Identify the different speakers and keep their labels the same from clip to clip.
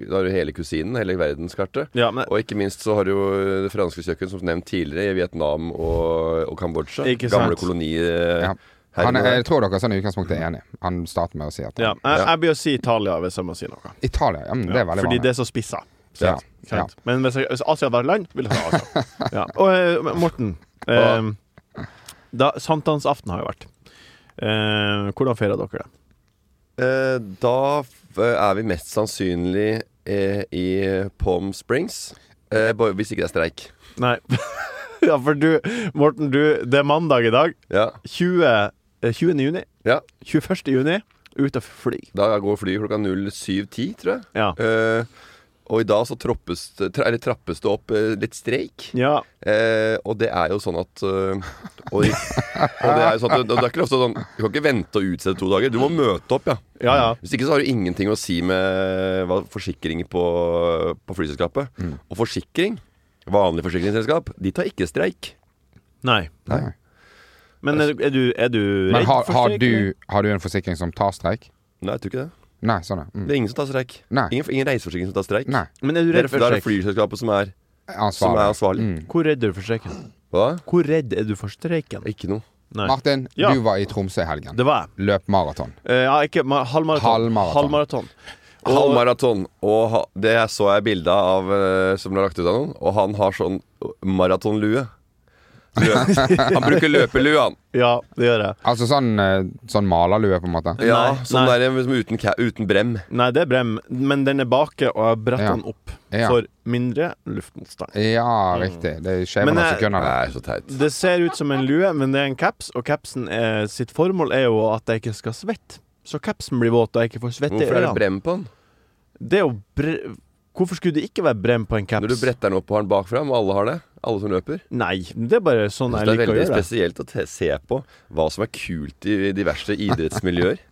Speaker 1: da har du hele kusinen, hele verdenskartet.
Speaker 2: Ja, men
Speaker 1: Og ikke minst så har du jo det franske kjøkken, som nevnt tidligere, i Vietnam og, og Kambodsja.
Speaker 2: Ikke sant.
Speaker 1: Gamle kolonier.
Speaker 3: Ja.
Speaker 1: Her
Speaker 3: Han,
Speaker 1: i
Speaker 3: er- jeg
Speaker 1: nord.
Speaker 3: tror dere sånn i utgangspunktet er enig. Han starter med å si at
Speaker 2: Ja, jeg, jeg blir å si Italia hvis jeg må si noe.
Speaker 3: Italia, ja, men det er veldig
Speaker 2: fordi
Speaker 3: vanlig.
Speaker 2: det er så spissa.
Speaker 3: ja.
Speaker 2: Ikke
Speaker 3: Ja.
Speaker 2: sant? Men hvis, jeg, hvis Asia var et land, ville jeg ha Asia. ja. Og eh, Morten, eh,
Speaker 1: Hva?
Speaker 2: da, sankthansaften har jo vært. Eh, hvordan feirer dere det?
Speaker 1: Eh, da f- eh, er vi mest sannsynlig eh, i Palm Springs. Eh, bare- hvis ikke det er streik.
Speaker 2: Nei Ja, for du, Morten, du, det er mandag i dag.
Speaker 1: Ja.
Speaker 2: 20, eh, 20. juni.
Speaker 1: ja.
Speaker 2: 21. juni. Ut og fly.
Speaker 1: Da går flyet klokka 07.10, tror jeg.
Speaker 2: Ja.
Speaker 1: Eh, Og i dag så troppes, det- tra, eller trappes det opp eh, litt streik.
Speaker 2: Ja.
Speaker 1: Eh, og det er jo sånn at eh, og, i- og det er jo sånn at det, det er ikke ofte sånn Du kan ikke vente og utsette to dager. Du må møte opp, ja.
Speaker 2: Ja, ja.
Speaker 1: Hvis ikke så har du ingenting å si med eh, hva, forsikring på, på flyselskapet. Og forsikring, vanlig forsikringsselskap, de tar ikke streik.
Speaker 2: Nei.
Speaker 3: Nei.
Speaker 2: Men er, er, du, er du
Speaker 3: Men
Speaker 2: redd
Speaker 3: har,
Speaker 2: for
Speaker 3: har,
Speaker 2: streik, eller?
Speaker 3: du, har du en forsikring som tar streik?
Speaker 1: Nei, jeg tror ikke det.
Speaker 3: Nei, sånn ja. Mm.
Speaker 1: Det er ingen som tar streik.
Speaker 3: Nei.
Speaker 1: Ingen, ingen reiseforsikring som tar streik.
Speaker 3: Nei.
Speaker 2: Men er du
Speaker 1: Det er,
Speaker 2: redd for
Speaker 1: det er det
Speaker 2: streik?
Speaker 1: flyselskapet som er, som er
Speaker 3: Ansvarlig.
Speaker 1: ansvarlig.
Speaker 3: Mm.
Speaker 2: Hvor redd er du for streiken?
Speaker 1: Hva?
Speaker 2: Hvor redd er du for streiken?
Speaker 1: Ikke noe.
Speaker 2: Nei.
Speaker 3: Martin,
Speaker 2: Ja.
Speaker 3: du var i Tromsø i helgen.
Speaker 2: Det var jeg.
Speaker 3: Løp maraton.
Speaker 2: Eh, ja, ikke ma- halvmaraton.
Speaker 3: Halvmaraton.
Speaker 2: Halvmaraton. Og-
Speaker 1: Halvmaraton. Og ha, det så jeg bilde av eh, som ble lagt ut av noen, og han har sånn maratonlue. Løp. Han bruker løpelue, han.
Speaker 2: Ja, det gjør jeg.
Speaker 3: Altså sånn, eh, sånn malerlue, på en måte.
Speaker 1: Ja,
Speaker 2: Nei,
Speaker 1: sånn
Speaker 2: nei.
Speaker 1: der liksom uten, ca- uten brem.
Speaker 2: Nei, det er brem, men den er bake, og jeg bretter
Speaker 3: Ja.
Speaker 2: den opp
Speaker 3: Ja.
Speaker 2: for mindre luftmotstand.
Speaker 3: Ja, riktig. Det skjer
Speaker 2: Men
Speaker 3: noen
Speaker 2: jeg-
Speaker 3: sekunder.
Speaker 1: Det
Speaker 3: der.
Speaker 1: er så teit.
Speaker 2: Det ser ut som en lue, men det er en caps, og capsen er, sitt formål er jo at jeg ikke skal svette. Så capsen blir våt, og jeg ikke får svette i
Speaker 1: Hvorfor er det
Speaker 2: ørene.
Speaker 1: brem på han?
Speaker 2: Det er jo bre... Hvorfor skulle det ikke være brem på en
Speaker 1: Når du
Speaker 2: caps?
Speaker 1: bretter den opp og har den bakfra, og alle har det, alle som løper
Speaker 2: Nei, det er bare sånn
Speaker 1: Så
Speaker 2: jeg
Speaker 1: Det er
Speaker 2: liker å
Speaker 1: veldig
Speaker 2: gjøre det.
Speaker 1: spesielt å te- se på hva som er kult i diverse idrettsmiljøer. det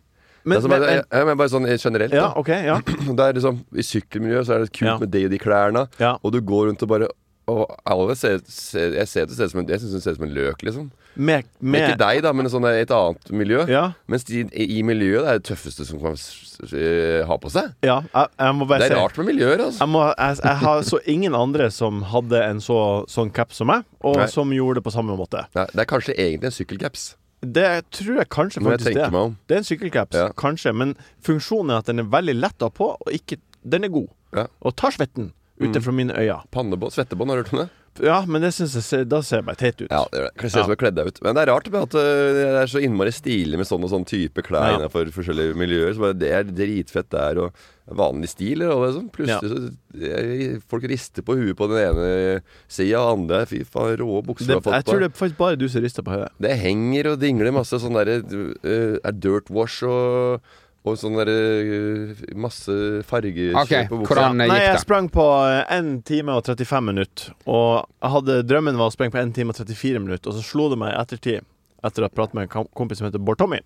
Speaker 2: Men,
Speaker 1: er som,
Speaker 2: men,
Speaker 1: jeg, jeg, jeg, Altså, bare sånn generelt,
Speaker 2: ja,
Speaker 1: da.
Speaker 2: OK, ja.
Speaker 1: Det er liksom, I sykkelmiljøet så er det kult
Speaker 2: Ja.
Speaker 1: med de og de klærne,
Speaker 2: ja.
Speaker 1: og du går rundt og bare og alle ser, ser, jeg ser det ser ut som en, jeg synes det ser ut som en løk, liksom.
Speaker 2: Med,
Speaker 1: Men
Speaker 2: med
Speaker 1: Ikke deg, da, men sånn der i et annet miljø.
Speaker 2: Ja,
Speaker 1: Mens de i miljøet det er det tøffeste som kan s- s- ha på seg.
Speaker 2: ja. Jeg, jeg må bare
Speaker 1: Det
Speaker 2: si
Speaker 1: er rart med miljøer, altså.
Speaker 2: Jeg, må, jeg, jeg har så ingen andre som hadde en så, sånn caps som meg, og
Speaker 1: Nei.
Speaker 2: som gjorde det på samme måte.
Speaker 1: Nei, det er kanskje egentlig en sykkelcaps,
Speaker 2: Det tror jeg kanskje
Speaker 1: når jeg
Speaker 2: faktisk det.
Speaker 1: tenker
Speaker 2: er.
Speaker 1: meg om.
Speaker 2: Det er en sykkelcaps,
Speaker 1: Ja.
Speaker 2: kanskje, men funksjonen er at den er veldig lett å ha på, og ikke, den er god.
Speaker 1: Ja. Mm.
Speaker 2: Og tar svetten ut fra mine øyne.
Speaker 1: Pannebånd, svettebånd, har du hørt om det?
Speaker 2: Ja, men det synes jeg, ser- da ser jeg bare teit ut.
Speaker 1: Ja, det gjør det. Kan se ut som jeg har kledd deg ut. Men det er rart med at øh, det er så innmari stilig med sånn og sånn type klær
Speaker 2: Ja.
Speaker 1: innenfor forskjellige miljøer. Så bare, det er dritfett der, og vanlig stil og det sånn. Plutselig så jeg- Folk rister på huet på den ene sida og den andre. Fy faen, rå bukser
Speaker 2: Det,
Speaker 1: du har
Speaker 2: jeg
Speaker 1: fått
Speaker 2: tror
Speaker 1: på.
Speaker 2: det
Speaker 1: Det...
Speaker 2: er faktisk bare du som rister på hodet.
Speaker 1: henger og dingler masse sånn derre øh, Er dirt wash og og sånn derre øh, Masse farger
Speaker 3: Ok,
Speaker 1: på buksa.
Speaker 3: hvordan eh,
Speaker 2: Nei, jeg
Speaker 3: gikk det?
Speaker 2: sprang på 1 time og 35 minutter, og jeg hadde, drømmen var å sprenge på 1 time og 34 minutter, og så slo det meg i ettertid, etter å ha pratet med en kam- kompis som heter Bård Tommy,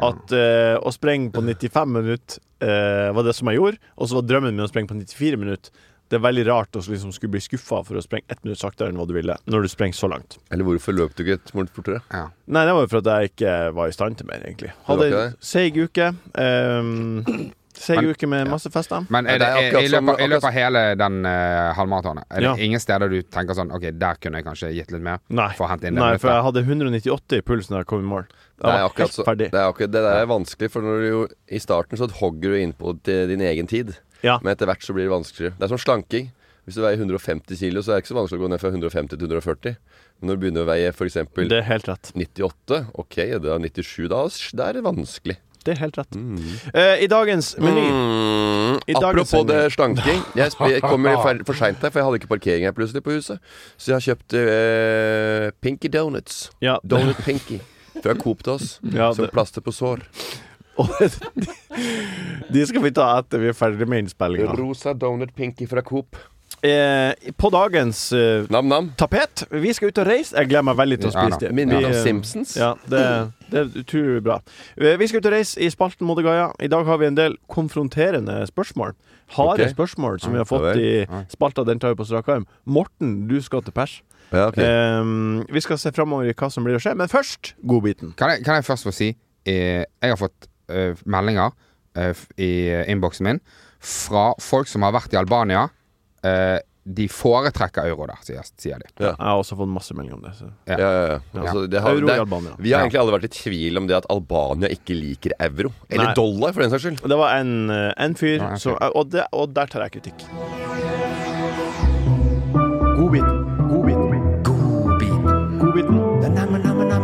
Speaker 2: at eh, å sprenge på 95 minutter eh, var det som jeg gjorde, og så var drømmen min å sprenge på 94 minutter. Det er veldig rart å liksom skulle bli skuffa for å sprenge ett minutt saktere enn hva du ville, når du sprenger så langt.
Speaker 1: Eller hvorfor løp du ikke et mål fortere?
Speaker 3: Ja.
Speaker 2: Nei, det var jo for at jeg ikke var i stand til mer, egentlig. Hadde
Speaker 1: ikke
Speaker 2: en
Speaker 1: det?
Speaker 2: seig uke. eh, seig
Speaker 3: Men-
Speaker 2: uke med masse fester.
Speaker 3: Men
Speaker 1: Nei,
Speaker 3: er det,
Speaker 1: det er
Speaker 3: er,
Speaker 1: akkurat
Speaker 3: i,
Speaker 1: som-
Speaker 3: løpet, i
Speaker 1: akkurat-
Speaker 3: løpet av hele den eh, halvmaratonen, er det
Speaker 2: Ja.
Speaker 3: ingen steder du tenker sånn OK, der kunne jeg kanskje gitt litt mer?
Speaker 2: Nei.
Speaker 3: For å hente inn det
Speaker 2: Nei, for
Speaker 3: minuttet.
Speaker 2: jeg hadde 198 i pulsen da jeg kom i mål. Jeg
Speaker 1: Nei,
Speaker 2: var
Speaker 1: akkurat
Speaker 2: helt
Speaker 1: så,
Speaker 2: ferdig.
Speaker 1: Det er, akkurat, det der er vanskelig, for når du jo, i starten så hogger du innpå til din egen tid.
Speaker 2: Ja.
Speaker 1: Men etter hvert så blir det vanskeligere. Det er som slanking. Hvis du veier 150 kilo, så er det ikke så vanskelig å gå ned fra 150 til 140. Men når du begynner å veie f.eks.
Speaker 2: Det er helt rett.
Speaker 1: 98, ok, det er 97 da, sj, da er det vanskelig.
Speaker 2: Det er helt rett. Eh, I dagens meny
Speaker 1: Mm,
Speaker 2: I dagens
Speaker 1: apropos
Speaker 2: sending.
Speaker 1: det slanking. Jeg, sp- jeg kommer fer- for seint her, for jeg hadde ikke parkering her plutselig på huset. Så jeg har kjøpt eh, Pinky Donuts.
Speaker 2: ja,
Speaker 1: Donut Pinky. Fra Coop til oss.
Speaker 2: Ja,
Speaker 1: som
Speaker 2: det-
Speaker 1: plaster på sår.
Speaker 2: De skal vi ta etter vi er ferdig med innspillinga.
Speaker 1: Rosa Donut Pinky fra Coop.
Speaker 2: Eh, på dagens eh,
Speaker 1: Nam-nam.
Speaker 2: tapet Vi skal ut og reise. Jeg gleder meg veldig til å
Speaker 3: Ja,
Speaker 2: spise
Speaker 3: da.
Speaker 2: det.
Speaker 1: Minner
Speaker 2: Vi,
Speaker 1: litt om
Speaker 2: eh,
Speaker 1: Simpsons.
Speaker 2: Ja, det, det er utrolig bra. Eh, Vi skal ut og reise i spalten Modegaia. I dag har vi en del konfronterende spørsmål. Harde
Speaker 1: Ok.
Speaker 2: spørsmål som vi har
Speaker 1: Ja
Speaker 2: fått
Speaker 1: vel.
Speaker 2: i
Speaker 3: Ja.
Speaker 2: spalta. Den tar vi på strak arm. Morten, du skal til pers.
Speaker 1: Ja, ok.
Speaker 2: Eh, vi skal se framover i hva som blir å skje, men først godbiten.
Speaker 3: Kan jeg, kan jeg først få si eh, Jeg har fått eh, meldinger eh, f- i eh, innboksen min fra folk som har vært i Albania. Eh, de foretrekker euro der, sier, sier de.
Speaker 2: Jeg har også fått masse melding om det. Så.
Speaker 1: ja, ja, ja. Altså, det har,
Speaker 2: Euro i
Speaker 1: det,
Speaker 2: Albania.
Speaker 1: vi har
Speaker 3: Ja.
Speaker 1: egentlig alle vært i tvil om det at Albania ikke liker euro. Eller
Speaker 2: Nei.
Speaker 1: dollar, for den saks skyld.
Speaker 2: Og Det var en, eh, en fyr,
Speaker 3: Ja, en fyr.
Speaker 2: som- og, det, og der tar jeg kritikk. Godbiten. Godbiten. Godbiten.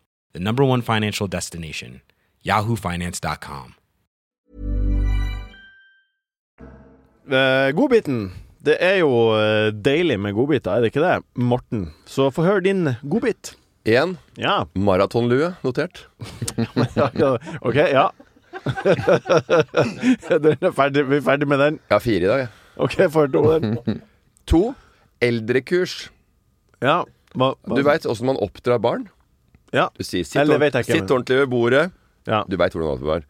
Speaker 4: the number one financial destination, yahoofinance.com.
Speaker 2: Eh, godbiten. Det er jo eh, deilig med godbiter, er det ikke det, Morten? Så få høre din godbit.
Speaker 1: Én
Speaker 2: Ja.
Speaker 1: maratonlue notert.
Speaker 2: OK, ja. den er ferdig, vi er ferdig med den.
Speaker 1: Jeg har fire i dag, jeg.
Speaker 2: OK, får to den.
Speaker 1: To eldrekurs.
Speaker 2: Ja. Hva, hva?
Speaker 1: Du veit åssen man oppdrar barn.
Speaker 2: Ja.
Speaker 1: Du sier sitt,
Speaker 2: Eller
Speaker 1: ordent-
Speaker 2: vet jeg ikke, men-
Speaker 1: sitt ordentlig ved bordet.
Speaker 2: ja.
Speaker 1: Du veit hvordan alt var.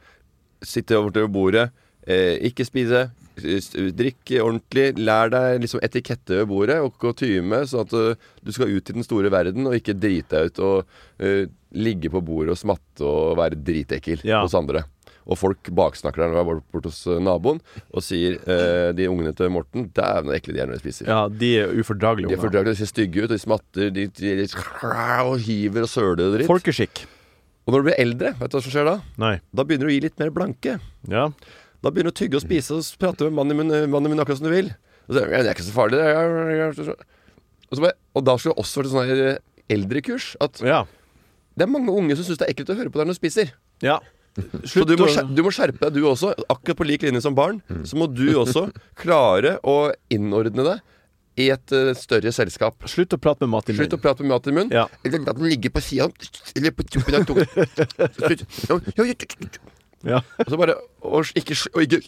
Speaker 1: Sitte ordentlig ved bordet. Eh, ikke spise. s- Drikk ordentlig. Lær deg liksom etikette ved bordet og kutyme, sånn at eh, du skal ut i den store verden og ikke drite deg ut og eh, ligge på bordet og smatte og være dritekkel
Speaker 2: Ja.
Speaker 1: hos andre. Og folk baksnakker deg når du er bort- borte hos eh, naboen og sier eh, de ungene til Morten Dæven, så ekle de er når de spiser.
Speaker 2: ja, de er ufordragelige.
Speaker 1: De er
Speaker 2: unger.
Speaker 1: fordragelige, de ser stygge ut, og de smatter de, de, de, og hiver og søler og dritt.
Speaker 2: Folkeskikk.
Speaker 1: Og når du blir eldre, vet du hva som skjer da?
Speaker 2: Nei.
Speaker 1: Da begynner du å gi litt mer blanke.
Speaker 2: Ja.
Speaker 1: Da begynner du å tygge og spise og prate med mannen i munnen, mannen i munnen akkurat som du vil. Og så, sier du, «Ja, det er ikke så farlig, det. er- ja, ja, ja, ja». Og, så bare, og da skulle det også vært sånn her eh, eldrekurs at
Speaker 2: Ja.
Speaker 1: det er mange unge som syns det er ekkelt å høre på deg når du spiser.
Speaker 2: ja.
Speaker 1: Så
Speaker 2: Slutt
Speaker 1: du må,
Speaker 2: å-
Speaker 1: skjer- du må skjerpe deg, du også. Akkurat på lik linje som barn, så må du også klare å innordne deg i et eh, større selskap.
Speaker 2: Slutt å prate med Martin.
Speaker 1: Slutt å prate med mat i munnen.
Speaker 2: Ja.
Speaker 1: Eller at den ligger på sida Eller på tuppen av tungen. Og
Speaker 2: Ja.
Speaker 1: så bare Og ikke, sl- og ikke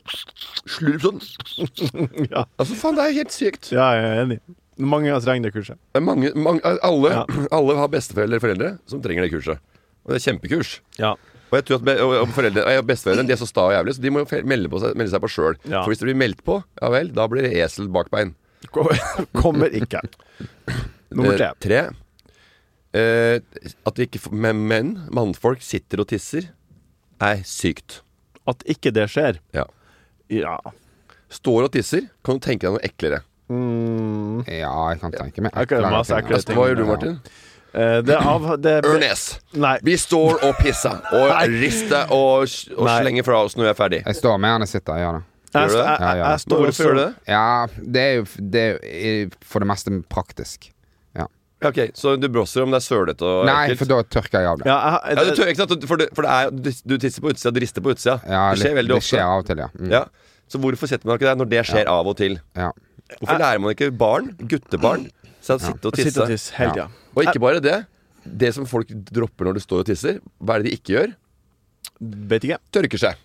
Speaker 1: slurp sånn.
Speaker 2: Ja.
Speaker 1: Altså, faen, det er helt sykt.
Speaker 2: ja, jeg er enig. Mange ganger trenger det kurset.
Speaker 1: Det er mange, mange, alle,
Speaker 2: Ja.
Speaker 1: alle har besteforeldre eller foreldre som trenger det kurset. Og det er kjempekurs.
Speaker 2: Ja.
Speaker 1: Og jeg tror at be, og og foreldre, og besteforeldre de er så sta og jævlig, så de må jo fe- melde, på seg, melde seg på sjøl.
Speaker 2: Ja.
Speaker 1: For hvis de blir meldt på, ja vel, da blir det esel bakbein.
Speaker 2: Kommer ikke. Nummer tre.
Speaker 1: Eh, tre. Eh, at ikke f- men- menn, mannfolk, sitter og tisser, er sykt.
Speaker 2: At ikke det skjer.
Speaker 1: Ja.
Speaker 2: Ja.
Speaker 1: Står og tisser, kan du tenke deg noe eklere. Mm.
Speaker 3: Ja, jeg kan tenke meg
Speaker 2: Jeg kan masse
Speaker 3: ting,
Speaker 2: ekle
Speaker 3: altså.
Speaker 2: ting.
Speaker 1: Hva gjør du, Martin?
Speaker 2: Eh, Det er av det er-
Speaker 1: Ørnes!
Speaker 2: Nei.
Speaker 1: Vi står og pisser og rister og, og
Speaker 2: Nei.
Speaker 1: slenger fra oss når vi er ferdig.
Speaker 3: Jeg står med han jeg sitter, jeg gjør det.
Speaker 2: Jeg,
Speaker 1: Gjør du det?
Speaker 2: jeg, jeg,
Speaker 3: Ja, ja.
Speaker 2: jeg
Speaker 1: Men
Speaker 2: står
Speaker 1: hvorfor gjør du det?
Speaker 3: Ja, det er jo det er jo for det meste praktisk. Ja.
Speaker 1: Ja, Ok, Så du brosser om det er sølete og
Speaker 3: Nei, for da tørker jeg av det.
Speaker 2: Ja, jeg,
Speaker 1: ja, du tør, ikke sant? For, det, for det er, du- du tisser på utsida, du rister på utsida.
Speaker 3: Ja,
Speaker 1: det skjer
Speaker 3: litt-
Speaker 1: veldig
Speaker 3: Det skjer
Speaker 1: ofte.
Speaker 3: av og til, ja. Mm,
Speaker 1: Ja. Så hvorfor setter man ikke det når det skjer av og til?
Speaker 3: ja.
Speaker 1: Hvorfor lærer man ikke barn, guttebarn, seg å sitte og
Speaker 2: Sitte
Speaker 1: tisse?
Speaker 2: og tisse hele tida.
Speaker 1: Og ikke bare det. Det som folk dropper når du står og tisser, hva er det de ikke gjør?
Speaker 2: Vet ikke.
Speaker 1: Tørker seg.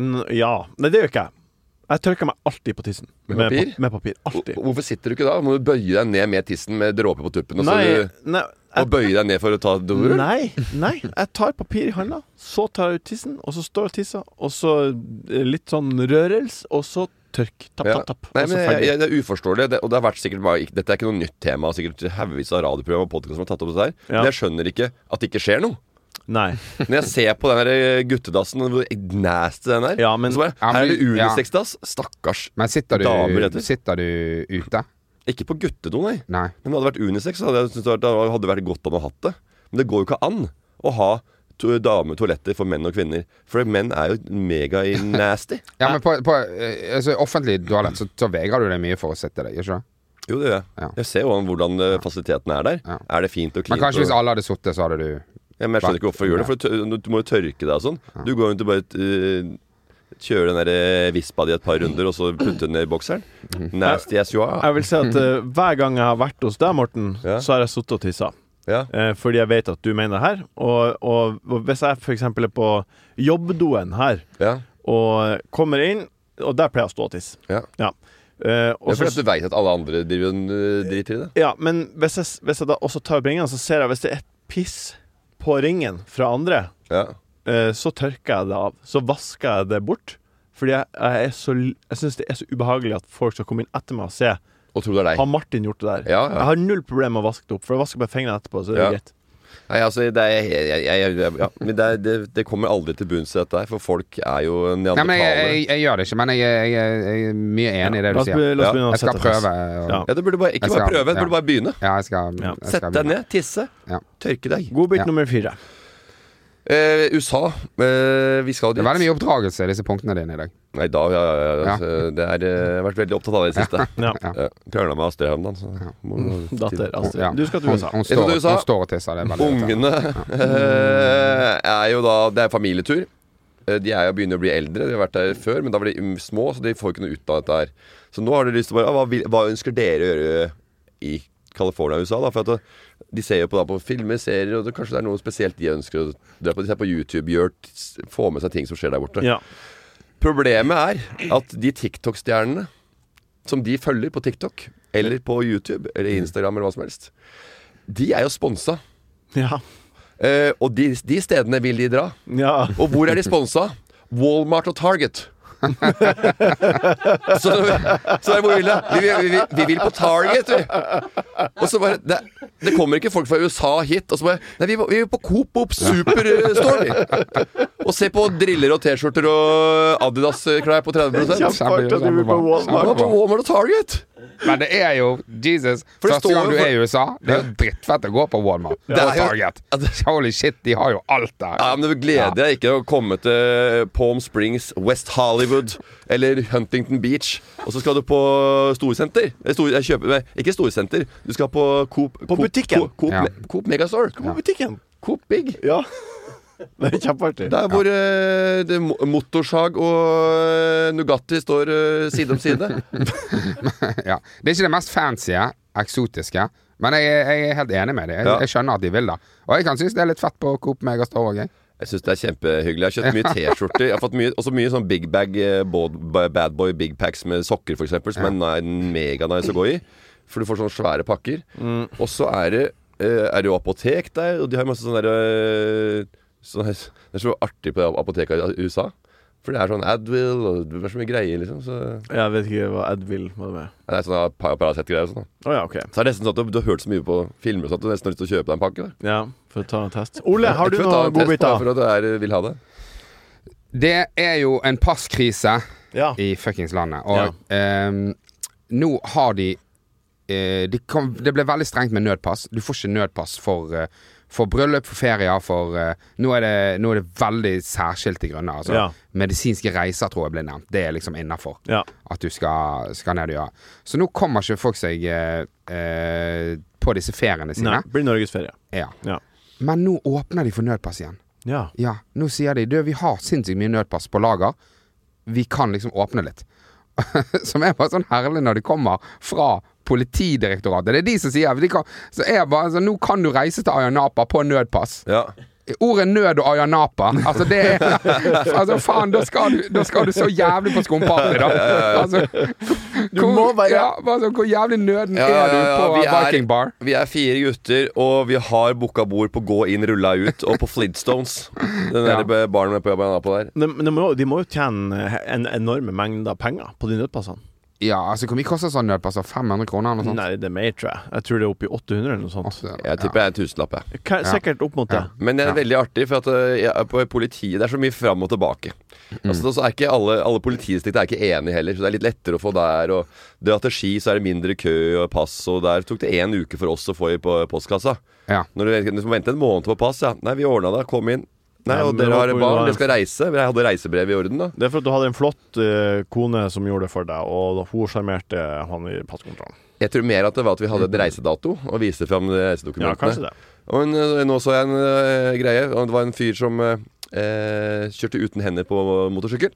Speaker 2: Mm, Ja. Nei, det gjør ikke jeg. Jeg tørker meg alltid på tissen.
Speaker 1: Med papir?
Speaker 2: pa- Med papir. Alltid.
Speaker 1: Og Hvorfor sitter du ikke da? Må du bøye deg ned med tissen med dråper på tuppen? Og, så
Speaker 2: Nei,
Speaker 1: altså du,
Speaker 2: nei,
Speaker 1: og bøye deg ned for å ta
Speaker 2: jeg,
Speaker 1: dorull?
Speaker 2: nei, nei. Jeg tar papir i handa, så tar jeg ut tissen, og så står jeg og tisser, og så eh, litt sånn rørelse, og så tørk. Tapp,
Speaker 1: Ja.
Speaker 2: tapp, tapp.
Speaker 1: Nei,
Speaker 2: og så
Speaker 1: men jeg,
Speaker 2: ferdig.
Speaker 1: jeg, det er uforståelig, det, og det har vært sikkert bare, ikke- dette er ikke noe nytt tema. og Sikkert haugevis av radioprogram og podkast som har tatt opp dette her.
Speaker 2: Ja.
Speaker 1: Men jeg skjønner ikke at det ikke skjer noe.
Speaker 2: Nei.
Speaker 1: Når jeg ser på den her eh, guttedassen, og hvor nasty den er
Speaker 2: Ja, men-
Speaker 1: så bare,
Speaker 3: Ja,
Speaker 1: Her
Speaker 3: men-
Speaker 1: er det
Speaker 3: ja.
Speaker 1: unisex-dass. Stakkars.
Speaker 3: Men sitter
Speaker 1: Damer
Speaker 3: du,
Speaker 1: heter det.
Speaker 3: sitter du ute?
Speaker 1: Ikke på guttedo, nei.
Speaker 3: Nei.
Speaker 1: Men hadde det vært unisex, så hadde jeg syntes det hadde vært- hadde vært godt om å ha hatt det. Men det går jo ikke an å ha to dametoaletter for menn og kvinner. For menn er jo mega-nasty.
Speaker 3: Ja, men på, på eh, altså, offentlig toalett så, så vegrer du deg mye for å sitte der, gjør ikke det?
Speaker 1: Jo, det gjør jeg.
Speaker 3: Ja.
Speaker 1: Jeg ser jo an- hvordan eh, fasilitetene er der.
Speaker 3: Ja.
Speaker 1: Er det fint og
Speaker 3: Men
Speaker 1: cleant?
Speaker 3: kanskje hvis
Speaker 1: og-
Speaker 3: alle hadde sittet, så hadde du
Speaker 1: Ja, men jeg skjønner ikke hvorfor jeg gjør det, for du tør- du må jo tørke deg og sånn. Du går jo ikke bare eh, Kjører den der eh, vispa di et par runder, og så putter den ned i bokseren.
Speaker 3: Mhm.
Speaker 1: Nasty as you are.
Speaker 2: Jeg vil si at eh, hver gang jeg har vært hos deg, Morten,
Speaker 1: Ja.
Speaker 2: så har jeg sittet og tissa.
Speaker 1: Ja.
Speaker 2: Eh, fordi jeg vet at du mener det her. Og, og, og hvis jeg f.eks. er på jobbdoen her
Speaker 1: ja.
Speaker 2: og kommer inn, og der pleier jeg å stå og tisse.
Speaker 1: Ja.
Speaker 2: Eh, og
Speaker 1: Det er
Speaker 2: så-
Speaker 1: fordi at du veit at alle andre driver en eh, drit i det.
Speaker 2: ja, men hvis jeg, hvis jeg da også tar opp ringene, så ser jeg hvis det er et piss på ringen fra andre,
Speaker 1: Ja.
Speaker 2: eh, så tørker jeg det av. Så vasker jeg det bort. Fordi jeg, jeg, er så l- jeg syns det er så ubehagelig at folk skal komme inn etter meg og se.
Speaker 1: Og tro det er deg.
Speaker 2: Har Martin gjort det der?
Speaker 1: Ja, ja.
Speaker 2: Jeg har null problem med å vaske det opp, for jeg vasker bare fingrene etterpå. Så er det
Speaker 1: Ja.
Speaker 2: greit
Speaker 1: Nei, altså, det, er, jeg, jeg, jeg, jeg, ja. Men det, er- det, det kommer aldri til bunns i dette her, for folk er jo
Speaker 3: Nei, men jeg,
Speaker 1: neandertalere.
Speaker 3: jeg, jeg gjør det ikke, men jeg, jeg, jeg, jeg er mye enig i det du
Speaker 2: La oss,
Speaker 3: sier.
Speaker 2: be- la oss
Speaker 1: Ja.
Speaker 2: begynne å
Speaker 3: Jeg skal
Speaker 2: sette
Speaker 3: prøve.
Speaker 2: fast.
Speaker 3: Og, ja.
Speaker 2: Ja.
Speaker 1: Ja, det burde bare, ikke
Speaker 3: Jeg
Speaker 1: bare
Speaker 3: skal-
Speaker 1: prøve, det
Speaker 3: ja.
Speaker 1: burde bare begynne.
Speaker 3: jeg skal,
Speaker 2: Ja.
Speaker 3: jeg
Speaker 1: Sett
Speaker 3: skal
Speaker 1: deg ned, tisse,
Speaker 3: Ja.
Speaker 1: tørke deg.
Speaker 2: Godbit
Speaker 3: Ja.
Speaker 2: nummer fire.
Speaker 1: Eh, USA, eh, vi skal
Speaker 3: Det
Speaker 1: dit.
Speaker 3: er veldig mye oppdragelse, disse punktene dine i dag.
Speaker 1: Nei, da, ja, ja, ja,
Speaker 3: Ja.
Speaker 1: altså, Det er, eh, jeg har vært veldig opptatt av det i det siste.
Speaker 2: Ja.
Speaker 3: Ja.
Speaker 1: Ja. Mm. Krangla med Astrid her om dagen, så må-
Speaker 2: Mm. Datter Astrid.
Speaker 3: Ja. Mm.
Speaker 2: Du skal til
Speaker 3: Hun,
Speaker 2: USA.
Speaker 3: hun,
Speaker 1: skal
Speaker 3: står,
Speaker 1: til USA.
Speaker 3: hun står og tisser. Det er veldig irriterende.
Speaker 1: Ungene eh, er jo da Det er familietur. Eh, De er jo begynner å bli eldre. De har vært der før, men da var de mm, små, så de får ikke noe ut av dette her. Så nå har de lyst til å bare ah, hva, vil, hva ønsker dere å gjøre i California og USA? Da? For at eh, de ser jo på, da, på filmer, serier, og det, kanskje det er noe spesielt de ønsker å dra på. De ser på YouTube, gjør, s- får med seg ting som skjer der borte.
Speaker 2: Ja.
Speaker 1: Problemet er at de TikTok-stjernene som de følger på TikTok, eller på YouTube, eller Instagram, eller hva som helst, de er jo sponsa.
Speaker 2: Ja.
Speaker 1: Eh, og de, de stedene vil de dra.
Speaker 2: ja.
Speaker 1: Og hvor er de sponsa? Walmart og Target. så, så er det hvor vi vil det. Vi, vi, vi, vi vil på Target, vi. Og så bare det, det kommer ikke folk fra USA hit. Og så bare Nei, vi, vi vil på Coop Op Superstore, vi. Og se på driller og T-skjorter og Adidas-klær på 30 Vi
Speaker 2: Kjempe- Fuck
Speaker 3: sånn
Speaker 2: at du vil på Walmart.
Speaker 1: var på Walmart og Target.
Speaker 3: Men det er jo Jesus.
Speaker 1: For det
Speaker 3: Første
Speaker 1: står
Speaker 3: gang
Speaker 1: jo
Speaker 3: du
Speaker 1: for-
Speaker 3: er i USA, det er jo drittfett å gå på Walmart.
Speaker 1: Det er
Speaker 3: Og
Speaker 1: jo-
Speaker 3: Target.
Speaker 1: Ja, det-
Speaker 3: Holy shit, de har jo alt der.
Speaker 1: Ja, men Det gleder jeg ikke å komme til Palm Springs, West Hollywood eller Huntington Beach. Og så skal du på storsenter. Eh, Stor, jeg kjøper, nei, ikke storsenter. Du skal på Coop
Speaker 2: På butikken.
Speaker 1: Coop, Coop,
Speaker 3: Ja.
Speaker 1: Me- Coop Megastore.
Speaker 2: På butikken.
Speaker 1: Coop Big.
Speaker 2: Ja. Det er kjempeartig.
Speaker 1: Der hvor eh, det, mo- Motorsag og eh, Nugatti står eh, side om side.
Speaker 3: Ja. Det er ikke det mest fancy, eksotiske, men jeg, er- jeg er helt enig med deg. Jeg,
Speaker 1: Ja.
Speaker 3: jeg skjønner at de vil det. Og jeg kan synes det er litt fett på Coop Megastore òg, jeg.
Speaker 1: Jeg syns det er kjempehyggelig. Jeg har kjøpt mye T-skjorter. Jeg har fått mye, også mye sånn big bag, eh, bod- bad boy big packs med sokker, f.eks., som er ni- mega nice å gå i. For du får sånne svære pakker.
Speaker 2: Mm.
Speaker 1: Og så er det eh, Er det jo apotek der, og de har masse sånne derre sånne, Det er så artig på det apoteket i USA. For det er sånn Advil og det er så mye greier, liksom. Så
Speaker 2: Jeg vet ikke hva Advil må det med.
Speaker 1: det er sånne pa- Paracet-greier og sånn. da.
Speaker 2: Å ja, OK.
Speaker 1: Så er det nesten sånn at du, du har hørt så mye på filmer og sånn at du nesten har lyst til å kjøpe deg en pakke. Da.
Speaker 2: Ja, for å ta en test. Ole, har
Speaker 1: Jeg
Speaker 2: du
Speaker 1: tror jeg tar en test bare
Speaker 2: noen godbiter?
Speaker 1: For at jeg er- vil ha det.
Speaker 3: Det er jo en passkrise
Speaker 2: Ja.
Speaker 3: i fuckings landet, og ehm, nå har de eh, de kom, det ble veldig strengt med nødpass. Du får ikke nødpass for, eh, for bryllup, for ferier, for eh, nå, er det, nå er det veldig særskilte grunner. Altså,
Speaker 2: Ja.
Speaker 3: Medisinske reiser tror jeg ble nevnt. Det er liksom innafor
Speaker 2: Ja.
Speaker 3: at du skal, skal ned og gjøre. Så nå kommer ikke folk seg eh, eh, på disse feriene
Speaker 2: Nei.
Speaker 3: sine.
Speaker 2: Blir norgesferie.
Speaker 3: Ja.
Speaker 2: Ja.
Speaker 3: Men nå åpner de for nødpass igjen.
Speaker 2: Ja.
Speaker 3: Ja, nå sier de Du, vi har sinnssykt mye nødpass på lager Vi kan liksom åpne litt Som er bare sånn herlig når de kommer Fra politidirektoratet Det er de som sier de kan, Så er jeg bare sånn Nå kan du reise til Ayanapa på nødpass
Speaker 1: Ja.
Speaker 3: Ordet nød og Ayanapa Altså det er Altså faen, da skal du, da skal du så jævlig på skumparty da altså, Du
Speaker 2: må være-
Speaker 3: ja, bare sånn, Hvor jævlig nøden
Speaker 1: Ja, ja, ja,
Speaker 3: er du på
Speaker 1: vi er-
Speaker 3: Viking Bar
Speaker 1: Vi er fire gutter, og vi har booka bord på Gå inn, rulla ut og på Flintstones. Den
Speaker 3: Ja.
Speaker 1: der be- baren med på jobb jeg har på der.
Speaker 2: De, de, må, de må jo tjene en enorme mengder penger på de nødpassene.
Speaker 3: Ja, altså hvor mye koster sånn nødpass? 500 kroner eller noe sånt?
Speaker 2: Nei, det er mer, tror jeg. Jeg tror det er oppi 800 eller noe sånt.
Speaker 3: Altså,
Speaker 1: Jeg tipper jeg er en tusenlapp, jeg.
Speaker 2: Ka- Sikkert opp mot det.
Speaker 1: Men det er veldig artig, for at øh, jeg er på politiet Det er så mye fram og tilbake. Altså, så er ikke alle, alle politidistrikt er ikke enige heller, så det er litt lettere å få der. Og dra til Ski, så er det mindre kø og pass, og der tok det én uke for oss å få i på postkassa.
Speaker 3: Ja.
Speaker 1: Når du, du må vente en måned på pass, ja. Nei, vi ordna det. Kom inn. Nei,
Speaker 2: Ja,
Speaker 1: og
Speaker 2: men
Speaker 1: dere
Speaker 2: det var
Speaker 1: har
Speaker 2: på
Speaker 1: barn,
Speaker 2: grunn av-
Speaker 1: dere skal reise. Jeg hadde reisebrevet i orden, da.
Speaker 2: Det er for at du hadde en flott eh, kone som gjorde det for deg, og hun sjarmerte han i passkontrollen.
Speaker 1: Jeg tror mer at det var at vi hadde et reisedato og viste fram
Speaker 2: Mm. Ja, kanskje
Speaker 1: reisedokumentene.
Speaker 2: det.
Speaker 1: og en, eh, nå så jeg en eh, greie. Og det var en fyr som eh, eh, kjørte uten hender på motorsykkel.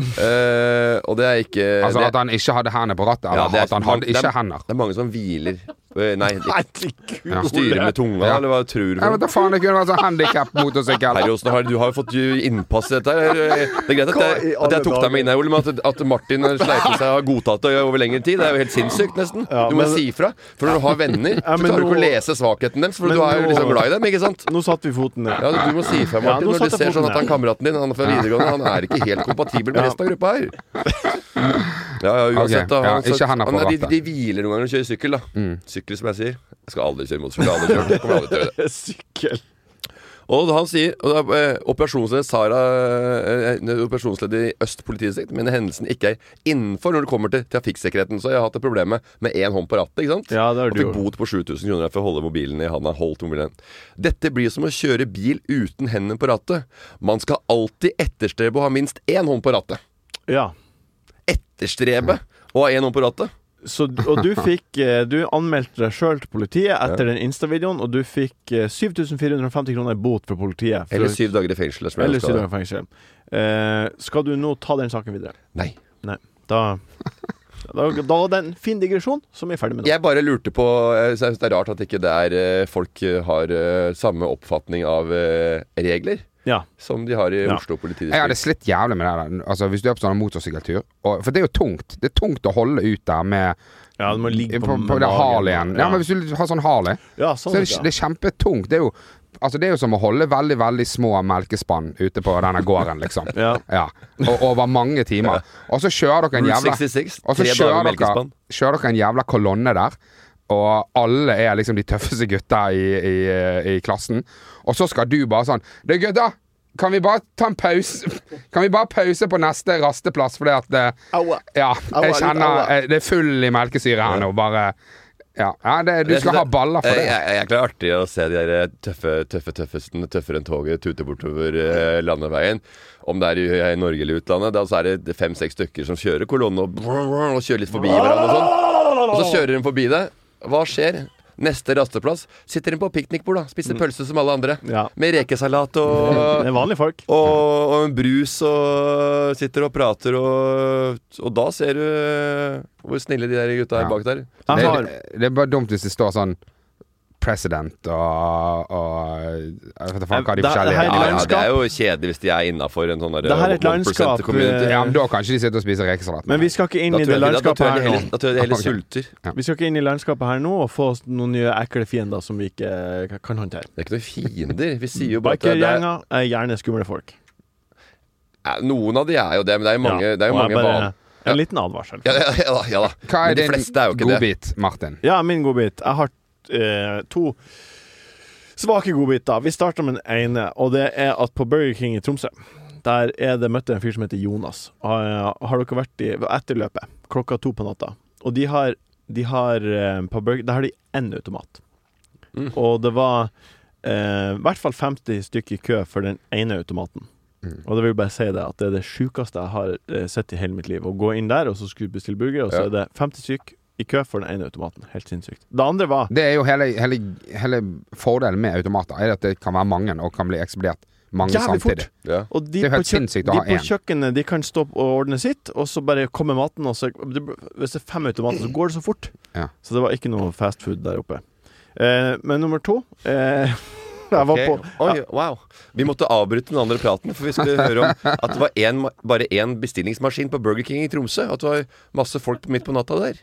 Speaker 1: Eh, og det er ikke
Speaker 3: Altså
Speaker 1: det,
Speaker 3: at han ikke hadde hendene på rattet?
Speaker 1: Ja,
Speaker 3: Eller
Speaker 1: det er-
Speaker 3: at han hadde
Speaker 1: det er-
Speaker 3: ikke hender?
Speaker 1: det er mange som hviler eh, Eh, Nei, de
Speaker 2: Herregud.
Speaker 3: Ja.
Speaker 1: styrer med tunga,
Speaker 3: Ja.
Speaker 1: eller hva tror du?
Speaker 3: Jeg vet da faen, det kunne vært sånn handikap-motorsykkel.
Speaker 1: Herre Åsne, har- du har jo fått jo innpass i dette. her. Det er greit at
Speaker 2: Hva
Speaker 1: jeg,
Speaker 2: i
Speaker 1: at jeg
Speaker 2: alle
Speaker 1: tok deg med
Speaker 2: dager?
Speaker 1: inn her, Ole, men at, at Martin sleiper seg og har godtatt det over lengre tid, det er jo helt sinnssykt, nesten.
Speaker 2: Ja,
Speaker 1: Du må
Speaker 2: men-
Speaker 1: si ifra. For når du har venner,
Speaker 2: Ja,
Speaker 1: så
Speaker 2: men
Speaker 1: klarer du ikke
Speaker 2: nå-
Speaker 1: å lese svakheten deres, for
Speaker 2: Men
Speaker 1: du er jo
Speaker 2: nå-
Speaker 1: liksom glad i dem, ikke sant?
Speaker 2: Nå satte vi foten ned.
Speaker 1: Ja, du må si ifra,
Speaker 2: Ja,
Speaker 1: Martin,
Speaker 2: nå
Speaker 1: når du
Speaker 2: satte jeg
Speaker 1: ser sånn
Speaker 2: foten
Speaker 1: at han
Speaker 2: ned.
Speaker 1: kameraten din, han fra videregående, han er ikke helt kompatibel med resten av gruppa her. Ja, ja, uansett,
Speaker 3: Ok,
Speaker 1: da.
Speaker 3: ja,
Speaker 1: så-
Speaker 3: ikke han er på
Speaker 1: de,
Speaker 3: rattet. Mm.
Speaker 1: de hviler noen ganger og kjører sykkel, da. Sykkel, som jeg sier. Jeg skal aldri kjøre motorsykkel. jeg har Aldri kjørt, jeg kommer aldri til å gjøre det.
Speaker 2: Sykkel.
Speaker 1: Og han sier og da, eh, Operasjonsleder Sara eh, eh, Operasjonsleder i Øst politidistrikt mener hendelsen ikke er innenfor når det kommer til trafikksikkerheten. Så jeg har hatt et problem med- med én hånd på rattet. ikke sant?
Speaker 2: Ja, det har
Speaker 1: og
Speaker 2: du
Speaker 1: fikk bot
Speaker 2: gjort.
Speaker 1: på 7000 kroner for å holde mobilen i handa. Holdt mobilen. Dette blir som å kjøre bil uten hendene på rattet. Man skal alltid etterstrebe å ha minst én hånd på rattet.
Speaker 2: Ja.
Speaker 1: Etterstrebe å ha én hånd på rattet.
Speaker 2: Så, og du fikk eh, Du anmeldte deg sjøl til politiet etter den Insta-videoen, og du fikk eh, 7450 kroner i bot fra politiet. For-
Speaker 1: Eller syv dager i fengsel. som jeg
Speaker 2: eller
Speaker 1: husker
Speaker 2: syv
Speaker 1: det.
Speaker 2: dager fengsel. Eh, skal du nå ta den saken videre?
Speaker 1: Nei.
Speaker 2: Nei. Da Da, da var det en fin digresjon som vi er ferdig med nå.
Speaker 1: Jeg bare lurte på Jeg synes det er rart at ikke det er eh, folk eh, har eh, samme oppfatning av eh, regler
Speaker 2: Ja.
Speaker 1: som de har i
Speaker 2: Ja.
Speaker 1: Oslo
Speaker 3: Jeg hadde
Speaker 1: politidistrikt.
Speaker 3: slitt jævlig med det. der. Altså, hvis du er på sånn motorsykkeltur og, For det er jo tungt. Det er tungt å holde ut der med
Speaker 2: ja, du må ligge
Speaker 3: på,
Speaker 2: på,
Speaker 3: på, det Harleyen. Ja.
Speaker 2: Ja,
Speaker 3: men hvis du har sånn Harley,
Speaker 2: ja
Speaker 3: så
Speaker 2: sånn
Speaker 3: er det,
Speaker 2: ja.
Speaker 3: det er kjempetungt. Det er jo Altså det er jo som å holde veldig veldig små melkespann ute på denne gården, liksom.
Speaker 2: Ja.
Speaker 3: Og over mange timer. Og så kjører dere en
Speaker 1: Route
Speaker 3: jævla
Speaker 1: 66.
Speaker 3: Og så
Speaker 1: Tre dager
Speaker 3: kjører
Speaker 1: med
Speaker 3: dere,
Speaker 1: melkespann.
Speaker 3: kjører dere en jævla kolonne der, og alle er liksom de tøffeste gutta i, i, i klassen. Og så skal du bare sånn Du, gutta! Kan vi bare ta en pause Kan vi bare pause på neste rasteplass, fordi at eh,
Speaker 2: Aua.
Speaker 3: Ja, jeg
Speaker 2: litt
Speaker 3: kjenner
Speaker 2: aua.
Speaker 3: eh, Det er full i melkesyre her nå, bare Ja, ja det, du
Speaker 1: Jeg synes
Speaker 3: skal ha
Speaker 1: det- Eh,
Speaker 3: baller for
Speaker 1: Jeg,
Speaker 3: det.
Speaker 1: jeg, jeg, det er artig å se de der eh, tøffe, tøffe tøffesten, tøffere enn toget, tute bortover eh, landeveien. Om det er i, i Norge eller utlandet. Da så er det fem-seks stykker som kjører kolonne og, og kjører litt forbi hverandre og sånn. Og så kjører de forbi deg. Hva skjer? Neste rasteplass sitter de på piknikbord, da. Spiser
Speaker 3: Mm.
Speaker 1: pølse som alle andre.
Speaker 2: Ja.
Speaker 1: Med rekesalat og
Speaker 2: Det er vanlige folk.
Speaker 1: og, og en brus og sitter og prater, og, og da ser du hvor snille de der gutta er
Speaker 3: Ja.
Speaker 1: bak der.
Speaker 2: Jeg
Speaker 3: Det,
Speaker 2: har
Speaker 3: det er bare dumt hvis det står sånn President og, og eh, Jeg vet da faen hva de
Speaker 2: Det- det her
Speaker 3: forskjellige
Speaker 2: er
Speaker 1: Ja,
Speaker 3: Ja,
Speaker 2: litt
Speaker 1: ja,
Speaker 2: landskap.
Speaker 1: det er jo kjedelig hvis de er innafor en sånn der
Speaker 2: Det her er et
Speaker 1: 1%
Speaker 2: landskap,
Speaker 1: community.
Speaker 2: eh,
Speaker 3: ja, men da kanskje de sitter og spiser rekesalat.
Speaker 2: Men vi skal ikke inn
Speaker 1: Da
Speaker 2: i
Speaker 1: tror jeg-
Speaker 2: det
Speaker 1: da- da tror
Speaker 2: landskapet
Speaker 1: jeg de
Speaker 2: her nå.
Speaker 1: heller- Da tror jeg de heller
Speaker 3: Ok.
Speaker 1: sulter.
Speaker 2: Vi skal ikke inn i landskapet her nå og få oss noen nye ekle fiender som vi ikke eh, kan håndtere.
Speaker 1: Det er ikke noen fiender. Vi sier jo bare at det er, det er,
Speaker 2: Bikergjenger er gjerne skumle folk.
Speaker 1: Ja, Noen av de er jo det, men det er jo mange,
Speaker 2: Ja,
Speaker 1: det er jo
Speaker 2: og jeg
Speaker 1: mange
Speaker 2: bare-
Speaker 1: van-
Speaker 2: En liten advarsel.
Speaker 1: Ja, ja, ja, da, ja da.
Speaker 3: Hva
Speaker 1: Men
Speaker 3: er
Speaker 1: de
Speaker 3: din
Speaker 1: fleste er jo ikke det.
Speaker 3: godbit, Martin?
Speaker 2: Ja, min godbit. Jeg har eh, to svake godbiter. Vi starter med den ene, og det er at på Burger King i Tromsø der er det møtte en fyr som heter Jonas. Har, har dere vært i etterløpet klokka to på natta? Og de har, de har eh, på Burger Der har de én automat.
Speaker 1: Mm.
Speaker 2: Og det var eh, i hvert fall 50 stykker i kø for den ene automaten.
Speaker 3: Mm.
Speaker 2: Og det vil jeg bare si det at det er det sjukeste jeg har eh, sett i hele mitt liv. Å gå inn der, og så skulle du bestille burger, og så
Speaker 1: Ja.
Speaker 2: er det 50 stykk i kø for den ene automaten. Helt sinnssykt. Det andre var
Speaker 3: Det er jo hele, hele, hele fordelen med automater, er at det kan være mange og kan bli eksplodert mange samtidig.
Speaker 2: jævlig fort.
Speaker 1: Ja.
Speaker 2: Og de
Speaker 3: Det er jo
Speaker 2: på,
Speaker 3: helt
Speaker 2: kjøk
Speaker 3: sinnssykt å
Speaker 2: de
Speaker 3: ha
Speaker 2: på
Speaker 3: én.
Speaker 2: kjøkkenet de kan stå og ordne sitt, og så bare kommer maten. Og så, det, hvis det er fem automater, så går det så fort.
Speaker 3: Ja.
Speaker 2: Så det var ikke noe fast food der oppe. Eh, men nummer to eh, Jeg var
Speaker 1: Ok.
Speaker 2: på
Speaker 1: Oi, wow. Vi måtte avbryte den andre praten, for vi skulle høre om at det var en, ma- bare én bestillingsmaskin på Burger King i Tromsø. At det var masse folk midt på natta der.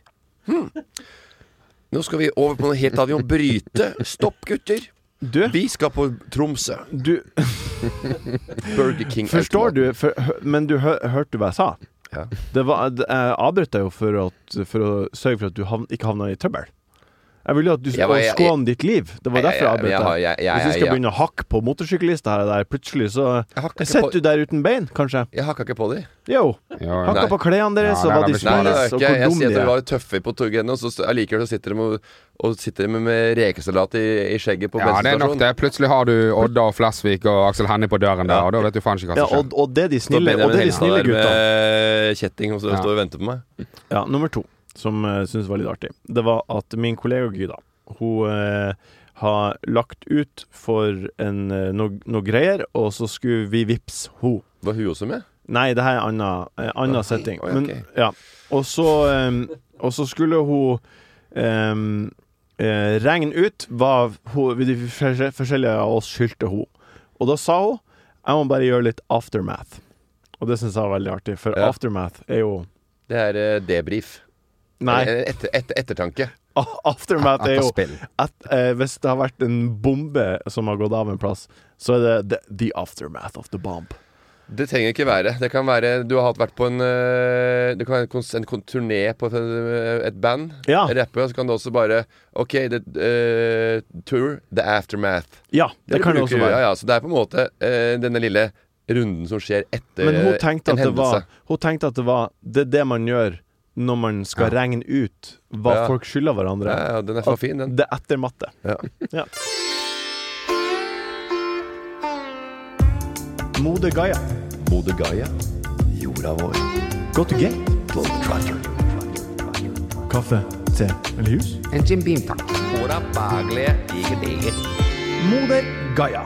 Speaker 1: Hmm. Nå skal vi over på noe helt annet. Vi må bryte. Stopp, gutter.
Speaker 2: Du,
Speaker 1: Vi skal på Tromsø.
Speaker 2: du
Speaker 1: Burger King.
Speaker 2: forstår du,
Speaker 1: automaten.
Speaker 2: for, hø- men du hø hørte du hva jeg sa?
Speaker 1: Ja.
Speaker 2: Det var, det- jeg avbrøt deg jo for, at, for å sørge for at du havn, ikke havna i trøbbel. Jeg ville jo at du
Speaker 1: Jeg var-
Speaker 2: skulle
Speaker 1: jeg-
Speaker 2: skåne ditt liv. Det var
Speaker 1: Jeg-
Speaker 2: derfor jeg
Speaker 1: jeg- jeg
Speaker 2: avbrøt deg.
Speaker 1: har- jeg- jeg-
Speaker 2: Hvis du
Speaker 1: jeg-
Speaker 2: skal begynne å hakke på motorsyklister her og der, plutselig så
Speaker 1: Jeg hakka ikke på-
Speaker 2: Sitter du der uten bein, kanskje?
Speaker 1: Jeg hakka ikke på dem.
Speaker 2: Yo.
Speaker 3: Jo,
Speaker 1: Nei.
Speaker 2: Hakka på klærne deres,
Speaker 3: Ja,
Speaker 2: og
Speaker 3: nei,
Speaker 2: hva
Speaker 1: Nei,
Speaker 3: da blir
Speaker 2: de
Speaker 1: det
Speaker 2: spiser,
Speaker 1: er
Speaker 2: og
Speaker 1: ikke.
Speaker 2: hvor
Speaker 1: Jeg
Speaker 2: dum
Speaker 1: sier at
Speaker 2: de
Speaker 1: de
Speaker 2: er.
Speaker 1: var tøffe på togene, og så så- allikevel så sitter de og, og sitter de med rekesalat i, i skjegget på
Speaker 3: Ja, det er nok
Speaker 1: bensinstasjonen.
Speaker 3: det. Plutselig har du Odda og Flesvig og Aksel Hennie på døren der, og da vet du faen ikke
Speaker 2: Ja,
Speaker 3: hva som
Speaker 2: og,
Speaker 3: skjer.
Speaker 2: og det er de
Speaker 1: Står
Speaker 2: snille,
Speaker 1: Benjamin
Speaker 2: og det er de
Speaker 1: Henstad
Speaker 2: snille
Speaker 1: der
Speaker 2: gutta.
Speaker 1: med kjetting og så
Speaker 3: Ja.
Speaker 1: står og venter på meg.
Speaker 2: Ja, nummer to, som jeg syns var litt artig, det var at min kollega Gyda, hun eh, har lagt ut for en, eh, noe noe greier, og så skulle vi vippse hun.
Speaker 1: Var hun også med?
Speaker 2: Nei, det her er en annen, eh, annen setting.
Speaker 1: oi,
Speaker 2: Men,
Speaker 1: ok.
Speaker 2: ja. og, så, eh, og så skulle hun eh, eh, regn ut, var ho, de forskjell- forskjellige av oss skyldte hun. Og da sa hun jeg må bare gjøre litt aftermath. Og det syns jeg var veldig artig, for
Speaker 1: Ja.
Speaker 2: aftermath er jo
Speaker 1: Det er eh, debrief.
Speaker 2: Nei,
Speaker 1: Eller Etter, etter, ettertanke.
Speaker 2: a- aftermath er jo
Speaker 3: Etter spill.
Speaker 2: at, eh, Hvis det har vært en bombe som har gått av en plass, så er det the, the aftermath of the bomb.
Speaker 1: Det trenger ikke være. Det kan være du har hatt vært på en eh, Det kan være en, kons- en kon- turné på et, eh, et band.
Speaker 2: Ja.
Speaker 1: Rapper, og så kan du også bare OK, det, eh, tour, the aftermath.
Speaker 2: Ja, det, kan det
Speaker 1: bruker-
Speaker 2: også være.
Speaker 1: Ja, ja, så det er på en måte eh, denne lille runden som skjer etter
Speaker 2: Men hun tenkte,
Speaker 1: en
Speaker 2: at det var,
Speaker 1: hendelse.
Speaker 2: hun tenkte at det var Det er det man gjør når man skal regne ut hva
Speaker 1: Ja.
Speaker 2: folk skylder hverandre.
Speaker 1: Ja, ja, den er for fin, den.
Speaker 2: Det er etter matte.
Speaker 1: Ja.
Speaker 2: Ja. Mode Gaia.
Speaker 1: Bodø Gaia. Jorda vår.
Speaker 2: Go to gate. Kaffe, te eller jus?
Speaker 3: En Jim Beam, takk.
Speaker 2: Mode Gaia.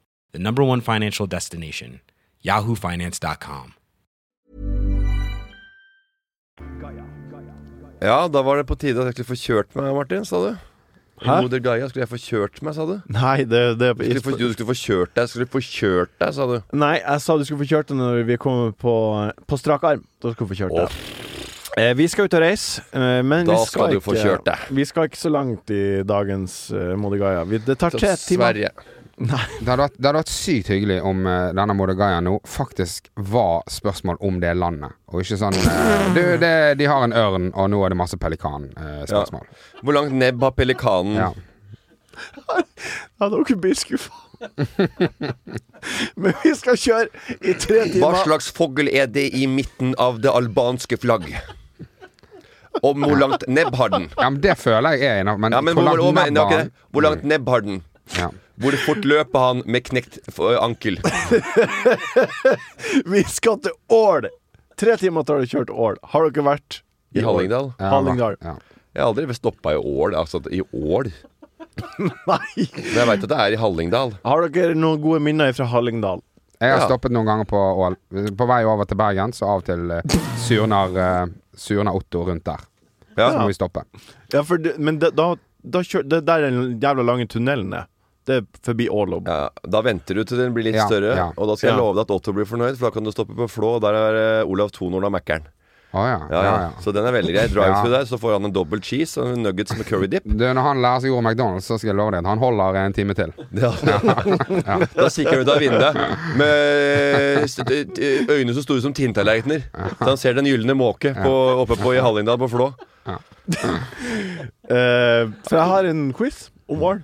Speaker 4: the number one financial destination, yahoofinance.com.
Speaker 1: Ja, da var det på tide at jeg skulle få kjørt meg, Martin, sa du. I
Speaker 2: Hæ?
Speaker 1: Moder Gaia skulle jeg få kjørt meg, sa du.
Speaker 2: Nei, det, det
Speaker 1: Du skulle, få, du skulle få kjørt deg, skulle få kjørt deg, sa du.
Speaker 2: Nei, jeg sa du skulle få kjørt det når vi kommer på, på strak arm. Da skal du få kjørt det. Eh, vi skal ut og reise, eh, men
Speaker 1: Da
Speaker 2: vi skal,
Speaker 1: skal du
Speaker 2: ikke,
Speaker 1: få kjørt det.
Speaker 2: Vi skal ikke så langt i dagens eh, Modigaya. Vi, det tar
Speaker 1: Til
Speaker 2: tre timer.
Speaker 1: Sverige.
Speaker 3: Det hadde, vært, det hadde vært sykt hyggelig om eh, denne Moder Gaia nå faktisk var spørsmål om det landet, og ikke sånn eh, Du, det, de har en ørn, og nå er det masse eh, pelikan-spørsmål.
Speaker 1: Hvor langt nebb har pelikanen?
Speaker 3: ja.
Speaker 2: Ja, dere blir skuffa. men vi skal kjøre i tre
Speaker 1: Hva
Speaker 2: timer.
Speaker 1: slags fogl er det i midten av det albanske flagg? Om hvor langt nebb har den?
Speaker 3: ja, men det føler jeg er innafor. Men,
Speaker 1: Ja, men
Speaker 3: hvor
Speaker 1: hvor,
Speaker 3: langt
Speaker 1: hvor,
Speaker 3: nebb
Speaker 1: ok,
Speaker 3: var han?
Speaker 1: hvor langt nebb har den?
Speaker 3: Ja.
Speaker 1: Hvor fort løper han med knekt f- ankel?
Speaker 2: Vi skal til Ål. Tre timer tar det å kjøre til Ål. Har dere vært
Speaker 1: I
Speaker 2: Ål?
Speaker 1: Hallingdal?
Speaker 3: Ja,
Speaker 2: Hallingdal.
Speaker 3: Ja.
Speaker 1: Jeg har aldri blitt stoppa i ål. Altså i ål.
Speaker 2: Nei.
Speaker 1: Men jeg veit at det er i Hallingdal.
Speaker 2: Har dere noen gode minner fra Hallingdal?
Speaker 3: Jeg har
Speaker 1: Ja.
Speaker 3: stoppet noen ganger på Ål. På vei over til Bergen, så av og til eh, surner, eh, surner Otto rundt der.
Speaker 1: Ja.
Speaker 3: Så må vi stoppe.
Speaker 2: Ja, for det, men det, da, da kjør, det der er den jævla lange tunnelen er. Det er forbi Ål og
Speaker 1: Ja, da venter du til den blir litt
Speaker 3: Ja,
Speaker 1: større,
Speaker 3: ja.
Speaker 1: og da skal jeg
Speaker 2: Ja.
Speaker 1: love deg at Otto blir fornøyd, for da kan du stoppe på Flå, og der er eh, Olav Tonorn av Mækkern.
Speaker 3: Å ja.
Speaker 1: Ja,
Speaker 3: ja,
Speaker 1: ja.
Speaker 3: ja.
Speaker 1: Så den er veldig grei. Drive
Speaker 3: Ja.
Speaker 1: through der, så får han en dobbel cheese og en nuggets med curry dip.
Speaker 3: Du, når han lærer seg ordet McDonald's, så skal jeg love deg at han holder en time til.
Speaker 1: Ja. Da kikker han ut av vinduet med st- t- øyne så store som tinntallerkener. Så han ser Den gylne måke på, oppe på i Hallingdal på Flå.
Speaker 2: Eh, For jeg har en quiz om Ål.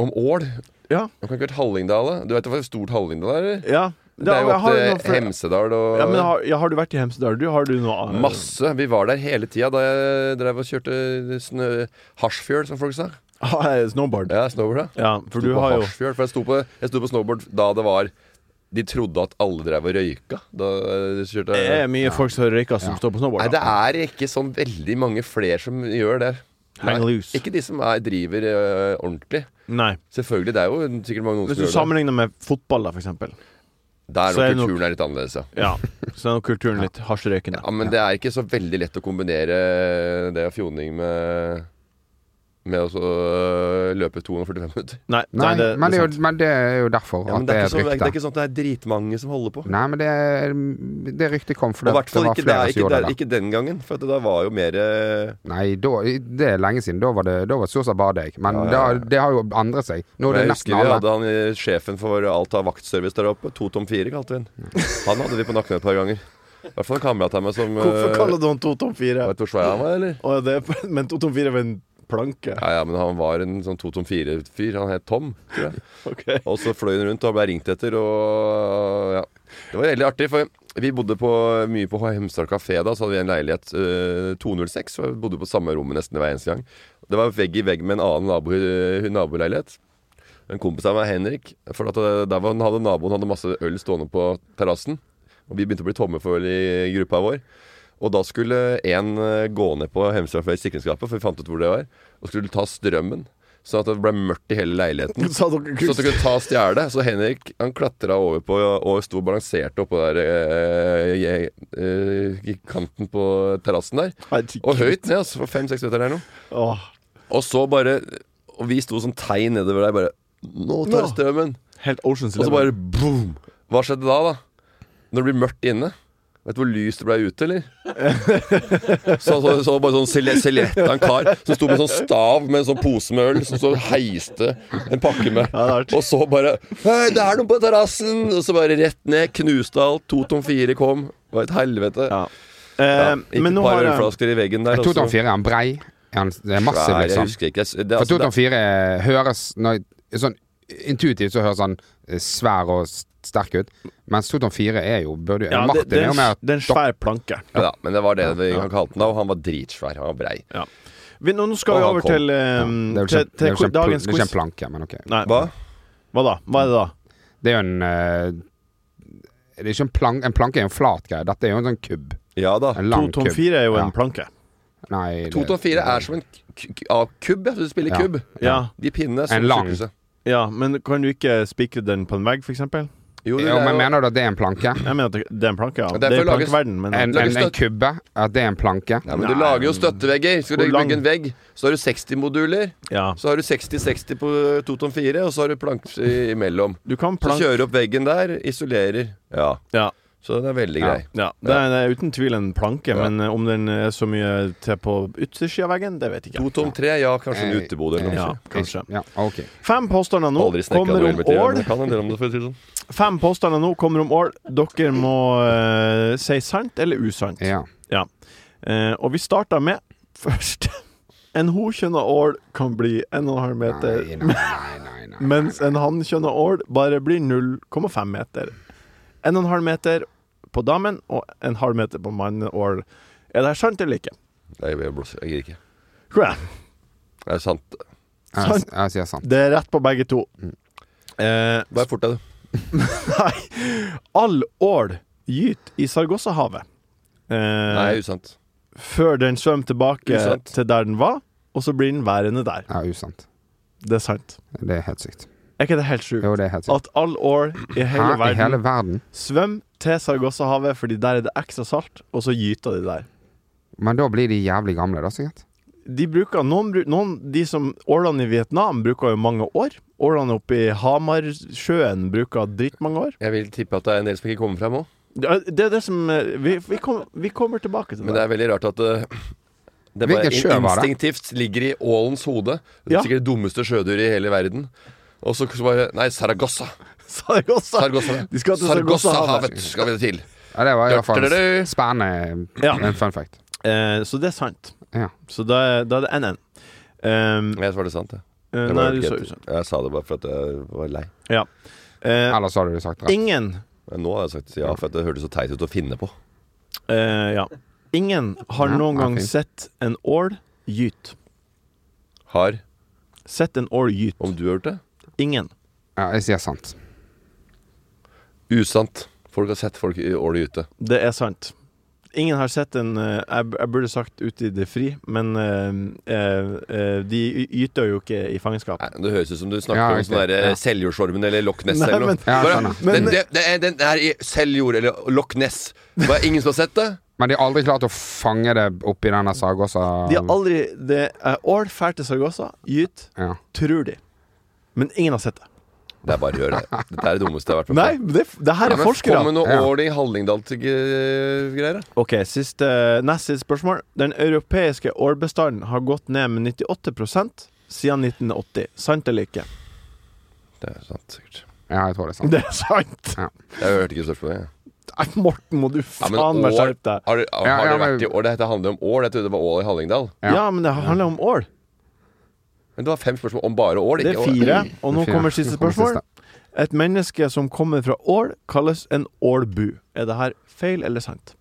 Speaker 1: Om ål?
Speaker 2: Ja.
Speaker 1: Du kan ikke vært Hallingdal, da? Du vet hvor stort Hallingdal er? eller?
Speaker 2: Ja.
Speaker 1: Det er jo
Speaker 2: jeg har noe
Speaker 1: opp
Speaker 2: fra-
Speaker 1: til Hemsedal og
Speaker 2: Ja, men har, ja, har du vært i Hemsedal? Du, har du noe annet?
Speaker 1: Masse. Vi var der hele tida da jeg drev og kjørte snø... Hasjfjøl, som folk sa.
Speaker 2: Har jeg snowboard?
Speaker 1: Ja, snowboard, ja.
Speaker 2: Ja, for
Speaker 1: Sto
Speaker 2: du
Speaker 1: på
Speaker 2: har jo
Speaker 1: Hasjfjøl, for jeg sto, på, jeg sto på snowboard da det var De trodde at alle drev og røyka da de kjørte
Speaker 2: Det er mye folk som røyker som står på snowboard.
Speaker 1: Nei, det
Speaker 2: da.
Speaker 1: er ikke sånn veldig mange flere som gjør det.
Speaker 2: Hang
Speaker 1: Nei,
Speaker 2: loose.
Speaker 1: Ikke de som er, driver øh, ordentlig.
Speaker 2: Nei.
Speaker 1: Selvfølgelig, det er jo sikkert mange noen
Speaker 2: Hvis
Speaker 1: som
Speaker 2: du
Speaker 1: gjør det.
Speaker 2: sammenligner med fotball, da, for eksempel.
Speaker 1: Der
Speaker 2: så er det
Speaker 1: når
Speaker 2: nok-
Speaker 1: kulturen er litt annerledes, ja.
Speaker 2: Ja. Så er nå kulturen litt hasjrøykende.
Speaker 1: ja men det er ikke så veldig lett å kombinere det og fjoning med med å så, øh, løpe 245 minutter.
Speaker 2: Nei,
Speaker 3: Nei,
Speaker 2: det,
Speaker 3: men, det er
Speaker 2: sant.
Speaker 3: jo, men det er jo derfor
Speaker 1: Ja, men
Speaker 3: at
Speaker 1: det, er ikke
Speaker 3: det er
Speaker 1: sånn, det er
Speaker 3: et rykte.
Speaker 1: ikke sånn at det er dritmange som holder på.
Speaker 3: Nei, men det, er- det ryktet kom
Speaker 1: Og
Speaker 3: fordi
Speaker 1: i
Speaker 3: at
Speaker 1: hvert
Speaker 3: det
Speaker 1: fall
Speaker 3: var
Speaker 1: ikke,
Speaker 3: flere
Speaker 1: der,
Speaker 3: som
Speaker 1: ikke,
Speaker 3: gjorde
Speaker 1: der,
Speaker 3: det.
Speaker 1: ikke den gangen, for at det da var jo mer øh,
Speaker 3: Nei, da, det er lenge siden. Da var det, da var det stort sett bare deg. Men
Speaker 1: Ja, ja, ja.
Speaker 3: Da, det har jo endret seg. Nå er det
Speaker 1: Jeg husker
Speaker 3: nesten
Speaker 1: vi
Speaker 3: alle.
Speaker 1: hadde han eh, sjefen for alt av vaktservice der oppe. To tom fire kalte vi han. Han hadde vi på nakken et par ganger. I hvert fall en kamerat av meg som eh,
Speaker 2: Hvorfor kaller du han 2 tom 4?
Speaker 1: Vet du hvor svær han var, eller?
Speaker 2: Å, det er, men 2 tom 4 er en planke?
Speaker 1: Ja, ja, men han var en sånn to tom fire-fyr. Han het Tom, tror jeg.
Speaker 2: Ok.
Speaker 1: Og så fløy han rundt og ble ringt etter, og ja. Det var veldig artig, for vi bodde på, mye på Hemsedal kafé da, så hadde vi en leilighet eh, 206, og vi bodde på samme rommet nesten hver eneste gang. Det var vegg i vegg med en annen nabo, eh, naboleilighet. En kompis av meg, Henrik, for at eh, der var, hadde naboen hadde masse øl stående på terrassen. Og vi begynte å bli tomme for øl i gruppa vår. Og da skulle en eh, gå ned på Hemsedal kafé i sikringsskapet, for vi fant ut hvor det var, og skulle ta strømmen. Sånn at det ble mørkt i hele leiligheten.
Speaker 2: Sa
Speaker 1: Så
Speaker 2: dere
Speaker 1: at du
Speaker 2: kunst...
Speaker 1: kunne ta og stjele det. Så Henrik han klatra over på og sto og balanserte oppå der eh, jeg- eh, i kanten på terrassen der.
Speaker 2: Herregud.
Speaker 1: Og høyt ned, altså. for Fem-seks meter eller noe.
Speaker 2: Åh,
Speaker 1: Og så bare Og vi sto sånn tegn nedover der, bare Nå tar
Speaker 2: Nå.
Speaker 1: strømmen!
Speaker 2: helt Oceans
Speaker 1: Og så
Speaker 2: Eleven.
Speaker 1: bare boom! Hva skjedde da, da? Når det blir mørkt inne? Vet du hvor lyst det ble ute, eller? Så, så, så bare sånn sele- selekta en kar som sto med en sånn stav med en sånn pose med øl, som så heiste en pakke med.
Speaker 2: Ja, det er artig.
Speaker 1: Og så bare Hei, det er noe på terrassen! Og så bare rett ned, knuste alt. To tom fire kom. Det var et helvete.
Speaker 2: Ja.
Speaker 1: Ja,
Speaker 2: Eh,
Speaker 1: gikk
Speaker 2: men
Speaker 1: et
Speaker 2: nå
Speaker 1: par
Speaker 2: har jeg
Speaker 1: ølflasker i veggen der.
Speaker 3: Jeg tok
Speaker 1: og så-
Speaker 3: den fire, er han brei? Er han det er massiv,
Speaker 1: Nei, jeg
Speaker 3: liksom?
Speaker 1: husker ikke. Jeg s- Det,
Speaker 3: For
Speaker 1: altså, det-
Speaker 3: 2004 eh, høres når, sånn, Intuitivt så høres han eh, svær og s- sterk ut, mens 2004 er jo burde, jo-
Speaker 2: ja, det,
Speaker 3: Martin
Speaker 2: det,
Speaker 3: er
Speaker 2: er
Speaker 3: jo mer
Speaker 2: en, det er en svær planke.
Speaker 1: ja, da, men det var det vi
Speaker 2: Ja.
Speaker 1: kalte den da, og han var dritsvær. Han var brei.
Speaker 2: Vi, nå, nå skal
Speaker 1: Og
Speaker 2: vi
Speaker 1: han
Speaker 2: over
Speaker 1: kom.
Speaker 2: til, eh,
Speaker 3: Det er jo ikke,
Speaker 2: til,
Speaker 3: det er
Speaker 2: til
Speaker 3: jo ikke, en, pl-
Speaker 2: dagens
Speaker 3: det er ikke en
Speaker 2: quiz.
Speaker 3: planke, men ok.
Speaker 2: Nei, hva?
Speaker 1: Hva?
Speaker 2: da? Hva er det da?
Speaker 3: Det er jo en eh, Det er ikke en planke En planke er jo en flat greie. Dette er jo en sånn kubb.
Speaker 1: Ja da.
Speaker 3: En
Speaker 2: 2
Speaker 3: lang
Speaker 2: tom
Speaker 3: kubb.
Speaker 2: 4 er jo
Speaker 3: Ja.
Speaker 2: en planke.
Speaker 3: Nei, det-
Speaker 1: 2-4 er som en k- k- av kubb. Jeg synes du spiller
Speaker 3: Ja.
Speaker 1: kubb.
Speaker 2: Ja,
Speaker 1: De pinnene er som
Speaker 3: En lang.
Speaker 1: syklelse.
Speaker 2: ja, men kan du ikke spikre den på en vegg, for eksempel?
Speaker 1: Jo, det
Speaker 3: Jo,
Speaker 1: er
Speaker 3: men
Speaker 1: jo-
Speaker 3: mener du at det er en planke?
Speaker 2: Jeg mener at det- det er en planke, ja.
Speaker 1: Og
Speaker 2: Det
Speaker 1: derfor
Speaker 2: er
Speaker 1: lages-
Speaker 2: plankeverden,
Speaker 3: En,
Speaker 2: men
Speaker 3: en, en
Speaker 1: Lagerstøt.
Speaker 3: kubbe? At det er en planke?
Speaker 1: Nei, men Du
Speaker 2: Nei.
Speaker 1: lager jo støttevegger. Skal
Speaker 2: Hvor
Speaker 1: du
Speaker 2: lang?
Speaker 1: bygge en vegg, så har du 60 moduler.
Speaker 2: ja.
Speaker 1: Så har du 60-60 på 2 tom 4, og så har du plank i- imellom.
Speaker 2: Du kan
Speaker 1: Så
Speaker 2: planke
Speaker 1: kjører du opp veggen der, isolerer. Ja.
Speaker 2: Ja.
Speaker 1: Så den er veldig
Speaker 3: Ja.
Speaker 1: grei.
Speaker 2: Ja, det er, det er uten tvil en planke,
Speaker 1: Ja.
Speaker 2: men eh, om den er så mye til på yttersida av veggen, det vet jeg ikke.
Speaker 1: 2 tom 3, ja, kanskje en
Speaker 3: Eh,
Speaker 1: utebod eller noe.
Speaker 2: Ja,
Speaker 1: sånt.
Speaker 2: kanskje.
Speaker 3: Ja, ok.
Speaker 2: Fem påstander nå
Speaker 1: Aldri snekra
Speaker 2: kommer
Speaker 1: noe
Speaker 2: om
Speaker 1: helvete i øret, men
Speaker 2: ål.
Speaker 1: jeg kan en del om det. for å si det sånn.
Speaker 2: Fem påstander nå kommer om ål. Dere må eh, si sant eller usant.
Speaker 3: Ja.
Speaker 2: Eh, og vi starter med først En hokjønna ål kan bli 1,5 meter,
Speaker 3: Nei, nei, nei, nei, nei.
Speaker 2: mens en hannkjønna ål bare blir 0,5 meter. 1,5 meter på damen og en halv meter på mannål. Er det her sant eller ikke?
Speaker 1: Nei, jeg blåser. Jeg gir ikke.
Speaker 2: Tror jeg.
Speaker 1: Det er sant.
Speaker 3: Jeg, jeg sier sant.
Speaker 2: Det er rett på begge to.
Speaker 3: Mm.
Speaker 2: Eh,
Speaker 1: Bare fort deg, du.
Speaker 2: nei. All ål gyter i Sargossahavet. Eh,
Speaker 1: Nei, usant.
Speaker 2: før den svømmer tilbake
Speaker 1: Usant.
Speaker 2: til der den var, og så blir den værende der.
Speaker 3: Ja, usant.
Speaker 2: Det er sant.
Speaker 3: Det er helt sykt.
Speaker 2: Er ikke det helt sjukt?
Speaker 3: Jo, det er helt sykt.
Speaker 2: At all ål i
Speaker 3: Hæ?
Speaker 2: hele
Speaker 3: I
Speaker 2: verden
Speaker 3: hele verden?
Speaker 2: svømmer til Sargossahavet, fordi der er det ekstra salt, og så gyter de der.
Speaker 3: Men da blir de jævlig gamle, da, sikkert.
Speaker 2: De bruker, noen, bru- noen, de som Ålene i Vietnam bruker jo mange år. Ålene oppe i Hamarsjøen bruker drittmange år.
Speaker 1: Jeg vil tippe at det er en del som ikke kommer frem òg.
Speaker 2: Det er- det er det som eh, Vi, vi, kom, vi kommer tilbake til
Speaker 1: Men det
Speaker 2: det.
Speaker 1: er veldig rart at eh, det bare
Speaker 3: Hvilken sjø
Speaker 1: in-
Speaker 3: var det?
Speaker 1: instinktivt ligger i ålens hode. Det er
Speaker 2: Ja.
Speaker 1: sikkert det dummeste sjødyret i hele verden. Og så så bare Nei, Saragossa.
Speaker 2: Sargossa!
Speaker 1: Sargossa.
Speaker 2: De skal til
Speaker 1: Sargossahavet
Speaker 2: Sargossahavet.
Speaker 1: skal vi til.
Speaker 3: Ja, det var i hvert fall
Speaker 1: Du-du-du.
Speaker 3: spennende.
Speaker 2: Ja.
Speaker 3: En fun fact.
Speaker 2: Eh, så det er sant.
Speaker 3: Ja.
Speaker 2: Så da er, da er det 1-1. Um,
Speaker 1: Jeg svarte sant, jeg.
Speaker 2: eh,
Speaker 1: Det
Speaker 2: nei,
Speaker 1: var
Speaker 2: du sa
Speaker 1: ikke-
Speaker 2: usant.
Speaker 1: Jeg sa det bare for at jeg var lei.
Speaker 2: Ja. Eh,
Speaker 3: Ellers hadde du sagt rett.
Speaker 2: ingen
Speaker 1: Men nå har jeg sagt ja, for at det hørtes så teit ut å finne på.
Speaker 2: eh, Ja. Ingen har
Speaker 3: Ja,
Speaker 2: noen
Speaker 3: ja,
Speaker 2: gang
Speaker 3: fint.
Speaker 2: sett en ål gyte.
Speaker 1: Har
Speaker 2: Sett en ål gyte.
Speaker 1: Om du har gjort det?
Speaker 2: Ingen.
Speaker 3: Ja, jeg sier sant.
Speaker 1: Usant. Folk har sett folk i ålet gyte.
Speaker 2: Det er sant. Ingen har sett en eh, Jeg, b- jeg burde sagt ute i det fri, men eh, eh, eh, de y- gyter jo ikke i fangenskap.
Speaker 1: Nei, Det høres ut som du snakker
Speaker 3: Ja,
Speaker 1: om
Speaker 3: riktig.
Speaker 1: sånn der,
Speaker 3: Ja.
Speaker 1: eh, Seljordsormen eller Loch Ness
Speaker 2: Nei,
Speaker 1: eller noe.
Speaker 2: men-
Speaker 3: Ja,
Speaker 1: Bare,
Speaker 3: jeg skjønner.
Speaker 1: den, det, det er, den er i Seljord eller Loch Ness. Det var ingen som har sett det?
Speaker 3: Men de har aldri klart å fange det opp i denne Sargossa
Speaker 2: De har aldri Det er all fælt til Sargossa. Gyt,
Speaker 3: ja.
Speaker 2: tror de. Men ingen har sett det.
Speaker 1: Det er bare å gjøre det. Dette er det dummeste jeg har vært med
Speaker 2: Nei, det, det her
Speaker 1: Ja,
Speaker 2: er
Speaker 1: men Kom med
Speaker 2: forskere.
Speaker 1: noe
Speaker 3: Ja.
Speaker 1: ål i Hallingdal-greier.
Speaker 2: Ok, siste, Nest siste spørsmål. Den europeiske ålbestanden har gått ned med 98 siden 1980. Sant eller ikke?
Speaker 1: Det er sant, sikkert.
Speaker 3: ja, jeg tror det er sant.
Speaker 2: Det er sant!
Speaker 1: Jeg hørte ikke størst på det. jeg.
Speaker 2: Nei, Morten, må du
Speaker 1: Ja,
Speaker 2: faen
Speaker 1: men
Speaker 2: meg
Speaker 1: år-
Speaker 2: skjerpe deg.
Speaker 1: Har, du- har
Speaker 3: Ja, ja,
Speaker 1: dere
Speaker 3: men-
Speaker 1: vært i ål? Dette handler om ål. Jeg trodde det var ål i Hallingdal.
Speaker 3: Ja.
Speaker 2: Ja, men det handler om ål.
Speaker 1: Men det var fem spørsmål om bare ål.
Speaker 2: Det
Speaker 1: Ikke
Speaker 2: er
Speaker 1: ål.
Speaker 2: fire, og nå
Speaker 3: Fire.
Speaker 2: kommer siste
Speaker 3: Nå kommer
Speaker 2: spørsmål.
Speaker 3: siste.
Speaker 2: Et menneske som kommer fra ål, kalles en ålbu. Er det her feil eller sant?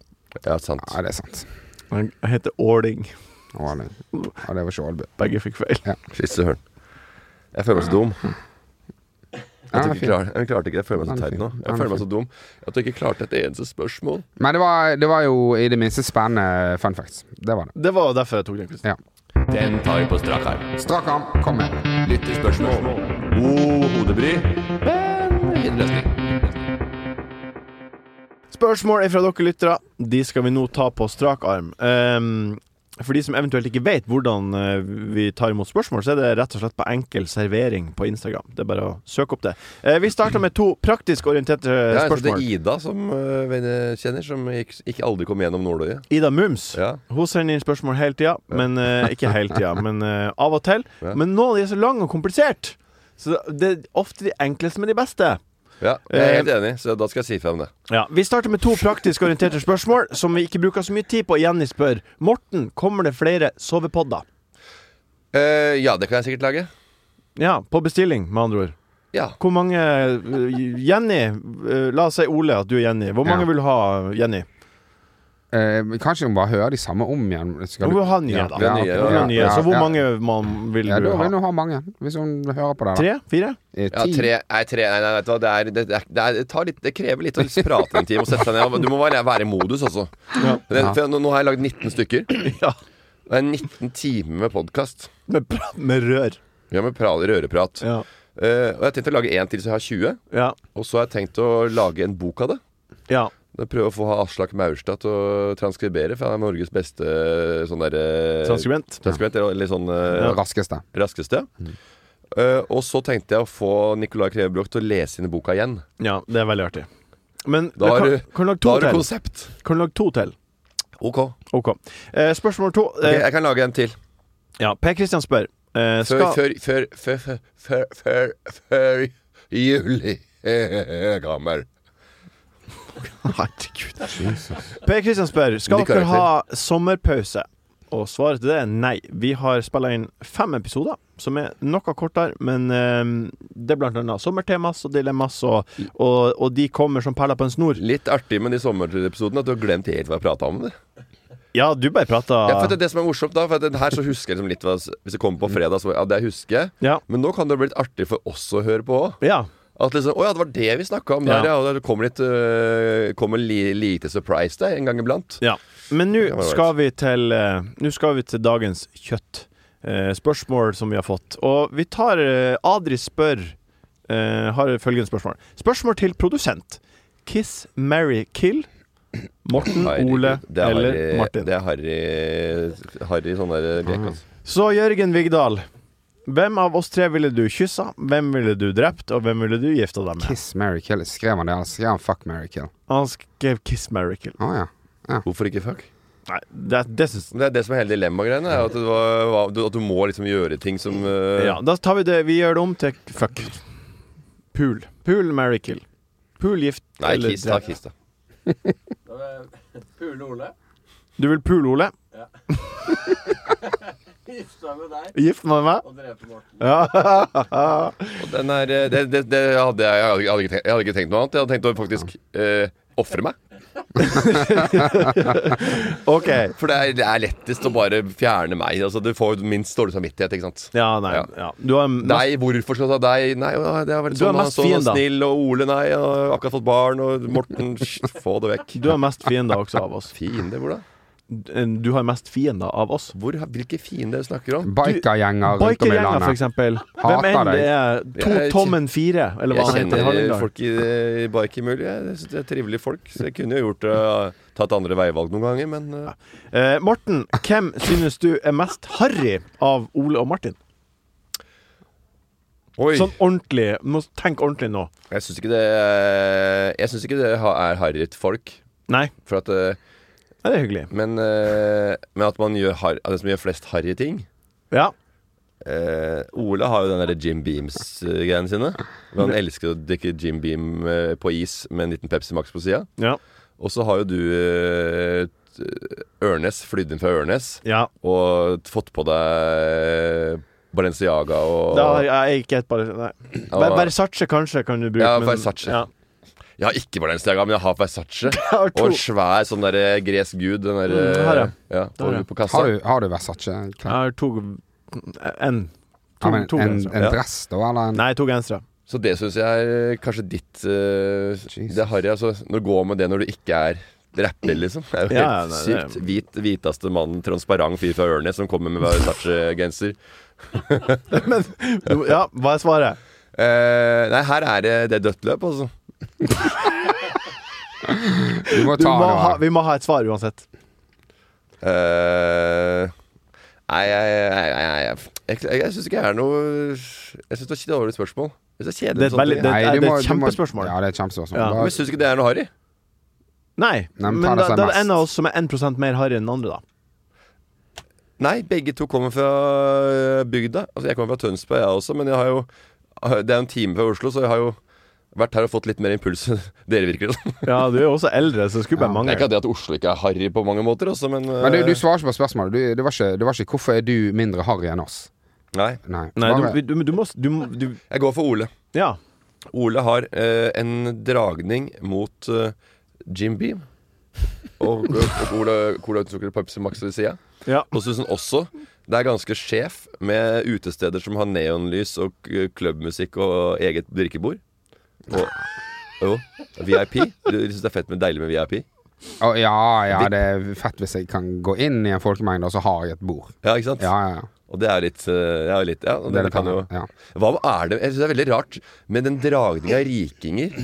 Speaker 1: Ja, sant.
Speaker 3: Ja, det er sant.
Speaker 2: Han heter åling.
Speaker 3: Å, det- Ja, det var ikke Ålbu.
Speaker 2: Begge fikk feil.
Speaker 1: Fy søren. Jeg føler meg så dum.
Speaker 3: Ja,
Speaker 1: At
Speaker 3: det
Speaker 1: du
Speaker 3: er
Speaker 1: ikke
Speaker 3: fint.
Speaker 1: klarer, jeg klarte ikke det. Jeg føler meg
Speaker 3: Den
Speaker 1: så
Speaker 3: er
Speaker 1: teit
Speaker 3: fin.
Speaker 1: nå.
Speaker 3: Den
Speaker 1: Jeg
Speaker 3: er
Speaker 1: føler meg
Speaker 3: fin.
Speaker 1: så dum at du ikke klarte et eneste spørsmål.
Speaker 3: Men det var, det var jo i det minste spennende fun facts. Det var det.
Speaker 2: Det var derfor jeg tok den. Kristian.
Speaker 3: Ja.
Speaker 5: Den tar vi på strak arm.
Speaker 3: Strak arm, kom med.
Speaker 5: Lytterspørsmål. God hodebry, men fin løsning.
Speaker 2: Spørsmål er fra dere lyttere. De skal vi nå ta på strak arm. Ehm, for de som eventuelt ikke vet hvordan eh, vi tar imot spørsmål, så er det rett og slett på enkel servering på Instagram. Det er bare å søke opp det. Eh, vi starter med to praktisk orienterte
Speaker 1: Ja,
Speaker 2: eh,
Speaker 1: jeg synes det er
Speaker 2: spørsmål.
Speaker 1: Ida som øh, venner kjenner, som ikke, ikke aldri kom gjennom nåløyet.
Speaker 2: Ida Mums.
Speaker 1: Ja.
Speaker 2: Hun sender inn spørsmål hele tida, men eh, ikke hele tida, men eh, av og til.
Speaker 1: Ja.
Speaker 2: Men noen av de er så lange og kompliserte, så det er ofte de enkleste, men de beste.
Speaker 1: ja, jeg er helt enig, så da skal jeg si frem det.
Speaker 2: Ja, Vi starter med to praktisk orienterte spørsmål som vi ikke bruker så mye tid på. Jenny spør Morten, kommer det flere sovepodder.
Speaker 1: Eh, ja, det kan jeg sikkert lage.
Speaker 2: Ja, på bestilling, med andre ord.
Speaker 1: Ja.
Speaker 2: Hvor mange øh, Jenny, øh, la oss si Ole at du er Jenny. Hvor mange
Speaker 3: Ja.
Speaker 2: vil du ha Jenny?
Speaker 3: Eh, men kanskje hun bare hører de samme om igjen. Skal
Speaker 2: Hun
Speaker 3: du-
Speaker 2: vil ha nye, da.
Speaker 1: vi har nye,
Speaker 3: ok.
Speaker 1: ja,
Speaker 2: Hun vil ha nye,
Speaker 3: Ja,
Speaker 2: så hvor
Speaker 3: ja.
Speaker 2: mange man vil
Speaker 3: Ja,
Speaker 2: du
Speaker 3: da
Speaker 2: ha?
Speaker 3: vil hun ha mange, hvis hun hører på det. da.
Speaker 2: Tre? Fire?
Speaker 3: Eh,
Speaker 1: Ja,
Speaker 3: ti.
Speaker 1: tre, nei, tre Nei, nei, vet du hva. Det, er, det, det, er- det, er, det, tar litt, det krever litt å prate en time og sette seg ned. Du må være, være i modus, altså. Men jeg- For jeg, nå, nå har jeg lagd 19 stykker.
Speaker 2: Ja.
Speaker 1: Det er 19 timer med podkast.
Speaker 2: Med, pra- med rør.
Speaker 1: Ja, med pra, røreprat.
Speaker 2: Ja.
Speaker 1: Eh, og jeg har tenkt å lage én til, så jeg har 20.
Speaker 2: Ja.
Speaker 1: Og så har jeg tenkt å lage en bok av det.
Speaker 2: ja.
Speaker 1: Da Prøve å få Aslak Maurstad til å transkribere, for han er Norges beste eh, sånn derre
Speaker 2: Transkribent.
Speaker 1: Transkribent, eller- eller sånn eh,
Speaker 2: Ja. Mm.
Speaker 3: Raskeste.
Speaker 1: raskeste. Eh, og så tenkte jeg å få Nicolai Klevebrok til å lese inn boka igjen.
Speaker 2: Ja, det er veldig artig. Men
Speaker 1: Da har
Speaker 2: kan,
Speaker 1: du-
Speaker 2: kan du
Speaker 1: Da
Speaker 2: lage to
Speaker 1: har du
Speaker 2: til?
Speaker 1: konsept.
Speaker 2: Kan du lage to til?
Speaker 1: Ok.
Speaker 2: OK. Eh, spørsmål to.
Speaker 1: Ok,
Speaker 2: Eh,
Speaker 1: jeg kan lage en til.
Speaker 2: ja, Per Kristian spør. Eh,
Speaker 1: Før,
Speaker 2: skal,
Speaker 1: før, før, før, før, før, før, før juli gammel.
Speaker 2: Herregud. Per Kristian spør
Speaker 1: Men de
Speaker 2: Skal dere
Speaker 1: klarer
Speaker 2: ha sommerpause. Og svaret til det er nei. Vi har spilla inn fem episoder, som er noe kortere, men eh, det er blant annet sommertemas og dilemmas, og, og, og de kommer som perler på en snor.
Speaker 1: Litt artig med de sommerepisodene at du har glemt helt hva jeg prata om. Det.
Speaker 2: Ja, du bare
Speaker 1: Ja, for det,
Speaker 2: prata
Speaker 1: er det som er morsomt da, for at det her så husker jeg liksom litt hva s- Hvis det kommer på fredag, så ja, det jeg husker jeg.
Speaker 2: Ja.
Speaker 1: Men nå kan det bli litt artig for oss å høre på òg.
Speaker 2: ja.
Speaker 1: At liksom, Å ja, det var det vi snakka om
Speaker 2: Ja.
Speaker 1: der, ja. Og det kommer litt øh, Kommer li, lite surprise der en gang iblant.
Speaker 2: Ja. Men nå
Speaker 1: Det var
Speaker 2: skal vi til eh, Nå skal vi til dagens kjøtt. Eh, spørsmål som vi har fått. Og vi tar eh, Adri spør eh, har følgende spørsmål. Spørsmål til produsent. Kiss, marry, kill. Morten,
Speaker 1: Herregud,
Speaker 2: Ole
Speaker 1: det er
Speaker 2: eller
Speaker 1: Harry-
Speaker 2: Martin. Ah.
Speaker 1: Det er Harry, Harry sånn der grek, altså.
Speaker 2: Så Jørgen Vigdal. Hvem av oss tre ville du kyssa? Hvem ville du drept? Og hvem ville du gifta deg med?
Speaker 3: Kiss Mary Kill. Skrev han det? Eller skrev han Fuck Mary Kill?
Speaker 2: Han skrev 'Kiss, marry, kill'.
Speaker 3: Å ja.
Speaker 1: Hvorfor ikke fuck?
Speaker 2: Nei, det, det syns
Speaker 1: Det er det som er hele dilemma-greiene. er At, det var- var- du- at du må liksom gjøre ting som øh,
Speaker 2: Ja, da tar vi det Vi gjør det om til fuck. Pool. Pool, marry, kill. Pool, gift
Speaker 1: Nei,
Speaker 2: eller
Speaker 1: kiss, da.
Speaker 2: drept.
Speaker 1: Kiss, da.
Speaker 5: Pule Ole,
Speaker 2: Du vil pool, Ole?
Speaker 5: gifta med deg
Speaker 2: Gift med meg?
Speaker 5: og drepe Morten.
Speaker 2: Ja.
Speaker 1: Og Den er, eh, det, det, det hadde jeg, jeg, hadde, jeg, hadde ikke tenkt, jeg hadde ikke tenkt noe annet. Jeg hadde tenkt å faktisk eh, ofre meg.
Speaker 2: OK.
Speaker 1: For det er, det er lettest å bare fjerne meg. Altså, du får jo minst dårlig samvittighet, ikke sant.
Speaker 2: Ja, nei.
Speaker 1: Ja.
Speaker 2: Ja. Du har mest,
Speaker 1: Deg, hvorfor skal du ta deg? Nei, ja, det er vel
Speaker 2: Du er
Speaker 1: sånn, han
Speaker 2: mest
Speaker 1: sånn og
Speaker 2: fienden.
Speaker 1: snill, og Ole, nei, og akkurat fått barn, og Morten, sj, få det vekk.
Speaker 2: du har mest fiender også av oss.
Speaker 1: Fiende, hvor da?
Speaker 2: du har mest fiender av oss.
Speaker 1: Hvor, hvilke fiender snakker du om?
Speaker 3: Bikergjenger rundt om i
Speaker 2: Bikergjenger, for
Speaker 3: landet.
Speaker 2: eksempel.
Speaker 3: Hater
Speaker 2: Hvem enn det er. To
Speaker 1: Jeg-
Speaker 2: tommen fire, eller hva
Speaker 1: Jeg
Speaker 2: han heter.
Speaker 1: kjenner
Speaker 2: Hallingdal.
Speaker 1: folk i, i bikermiljøet. Jeg synes Det er trivelige folk. Så jeg kunne jo gjort eh, tatt andre veivalg noen ganger, men eh,
Speaker 2: Eh, Morten, hvem synes du er mest harry av Ole og Martin?
Speaker 1: Oi!
Speaker 2: Sånn ordentlig. Du Må tenke ordentlig nå.
Speaker 1: Jeg syns ikke det eh, Jeg synes ikke det ha- er harryt folk.
Speaker 2: Nei,
Speaker 1: For at eh,
Speaker 2: ja, det er hyggelig.
Speaker 1: Men, eh, men at man gjør har, at det som gjør flest harry ting
Speaker 2: Ja.
Speaker 1: Eh, Ole har jo den der Jim Beams-greiene sine. Hvor han elsker å drikke Jim Beam eh, på is med en liten Pepsi Max på sida.
Speaker 2: Ja.
Speaker 1: Og så har jo du eh, t- Ørnes, flydd inn fra Ørnes,
Speaker 2: ja.
Speaker 1: og fått på deg eh, Balenciaga og
Speaker 2: Da har jeg ikke et bare Nei. Ver- Versace kanskje kan du bruke.
Speaker 1: Ja,
Speaker 2: men-
Speaker 1: Versace.
Speaker 2: Ja.
Speaker 1: Jeg har ikke Balenciaga, men jeg har Versace.
Speaker 2: Jeg har
Speaker 1: Og
Speaker 2: to.
Speaker 1: en svær sånn der eh, gresk gud. Den der,
Speaker 2: Mm, har jeg.
Speaker 1: eh, ja,
Speaker 2: Det
Speaker 1: på,
Speaker 2: har jeg.
Speaker 1: på kassa.
Speaker 3: Har du, har du Versace-klær?
Speaker 2: Jeg har to En.
Speaker 3: Ja,
Speaker 2: To,
Speaker 3: men
Speaker 2: to
Speaker 3: en,
Speaker 2: gensere.
Speaker 3: en
Speaker 1: Ja.
Speaker 3: dress, da? Eller en
Speaker 2: Nei, to gensere.
Speaker 1: Så det syns jeg er eh, kanskje ditt eh,
Speaker 3: Jesus.
Speaker 1: Det er harry. Altså, når gå med det når du ikke er rapper, liksom. Det er jo
Speaker 2: Ja,
Speaker 1: helt
Speaker 2: nei, det-
Speaker 1: sykt. Hvit, hviteste mannen, transparent fyr fra Ørnes som kommer med Versace-genser.
Speaker 2: Jo, Ja, hva er svaret?
Speaker 1: Eh, nei, her er det, det er dødt løp, altså.
Speaker 3: Du må
Speaker 2: Du
Speaker 3: ta
Speaker 2: må
Speaker 3: det.
Speaker 2: ha,
Speaker 3: da.
Speaker 2: vi må ha et svar uansett.
Speaker 1: Eh, nei, jeg jeg, jeg, jeg, jeg, jeg syns ikke jeg er noe Jeg syns det var et dårlig spørsmål. Jeg synes det er
Speaker 2: Det er
Speaker 1: kjedelig med
Speaker 2: et
Speaker 1: sånne
Speaker 2: veldig-
Speaker 1: ting.
Speaker 2: det-
Speaker 3: Nei,
Speaker 2: er
Speaker 3: du må- du
Speaker 2: et
Speaker 3: må-
Speaker 2: kjempespørsmål.
Speaker 3: Ja, det er et kjempespørsmål.
Speaker 2: Ja.
Speaker 3: Da-
Speaker 1: Men syns du ikke det er noe harry?
Speaker 2: Nei,
Speaker 3: Nei, men
Speaker 2: men
Speaker 3: ta det
Speaker 2: da,
Speaker 3: som
Speaker 2: da er
Speaker 3: mest.
Speaker 2: det en av oss som er 1 mer harry enn den andre, da.
Speaker 1: Nei, begge to kommer fra bygda. Altså, jeg kommer fra Tønsberg, jeg også, men jeg har jo Det er jo en time fra Oslo, så jeg har jo vært her og fått litt mer impuls enn dere, virker det som.
Speaker 2: Ja, du er jo også eldre, så det skulle
Speaker 3: Ja,
Speaker 2: bare
Speaker 1: Det
Speaker 2: mangle.
Speaker 1: er ikke det at Oslo ikke er harry på mange måter, også, men eh,
Speaker 3: Men du, du svarer ikke på spørsmålet. Du, det, var ikke, det var ikke 'hvorfor er du mindre harry enn oss'?
Speaker 1: Nei.
Speaker 3: Nei.
Speaker 2: Nei,
Speaker 3: Bare-
Speaker 2: du, du, du må du, må- du,
Speaker 1: Jeg går for Ole.
Speaker 2: Ja.
Speaker 1: Ole har eh, en dragning mot eh, Jim Beam. Og, og cola, cola uten sukker og Pepsi Max ved sida.
Speaker 2: ja.
Speaker 1: Og så synes han også det er ganske sjef med utesteder som har neonlys og k- klubbmusikk og eget drikkebord. Og jo, VIP. Du syns det er fett med deilig med VIP?
Speaker 3: Å, ja, ja, det er fett hvis jeg kan gå inn i en folkemengde, og så har jeg et bord.
Speaker 1: Ja, ikke sant?
Speaker 3: Ja, ja, ja.
Speaker 1: Og det er litt, eh, ja, litt ja, og
Speaker 3: Det
Speaker 1: det,
Speaker 3: er litt
Speaker 1: kan jo
Speaker 3: annet, ja.
Speaker 1: Hva er det Jeg synes det er veldig rart, men den dragninga rikinger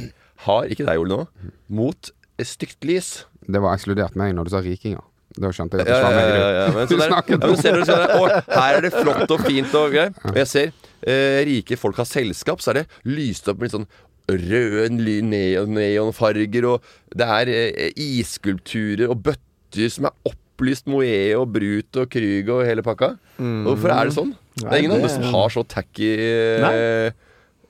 Speaker 1: har, ikke deg, Ole, nå, mot stygt lys.
Speaker 3: Det var ekskludert meg når du sa rikinger. Da skjønte jeg at det
Speaker 1: Ja,
Speaker 3: ikke var
Speaker 1: ja,
Speaker 3: meg.
Speaker 1: ja, ja.
Speaker 3: du.
Speaker 1: Men
Speaker 3: Du
Speaker 1: sånn der, ja,
Speaker 3: snakket om
Speaker 1: men ser du, ser du, å, her er det flott og fint og greier. Og jeg ser eh, rike folk har selskap, så er det lyst opp med litt sånn rød ly- neon, neonfarger, og det er eh, isskulpturer og bøtter som er opplyst Moët og Brut og Krüger og hele pakka. Hvorfor er det sånn? Det er ingen
Speaker 2: Nei,
Speaker 1: andre
Speaker 2: det-
Speaker 1: som har så tacky eh,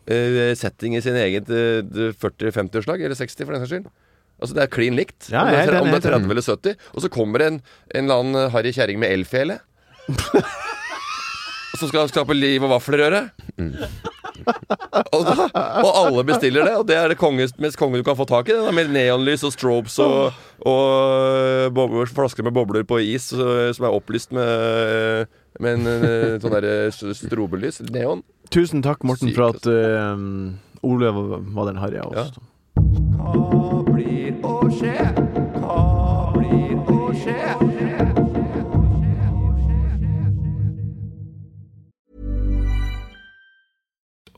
Speaker 1: eh, setting i sin eget eh, 40-50-årslag, eller 60 for den saks skyld. Altså Det er klin likt.
Speaker 2: Ja,
Speaker 1: om, det
Speaker 2: jeg
Speaker 1: er,
Speaker 2: er
Speaker 1: om det er
Speaker 2: helt enig, helt
Speaker 1: 30 eller 70. Og så kommer det en, en eller annen eh, harry kjerring med elfele. som skal skape liv og vaffelrøre. og, da, og alle bestiller det, og det er det konges, mest konge du kan få tak i. Det, da, med neonlys og strobes og, og bobler, flasker med bobler på is eh, som er opplyst med, med en eh, sånn derre strobelys. Neon.
Speaker 2: Tusen takk, Morten,
Speaker 1: Sykt,
Speaker 2: for at um, Ole var var den harry av oss.
Speaker 1: Ja.
Speaker 5: Hva blir å skje? Hva blir å skje?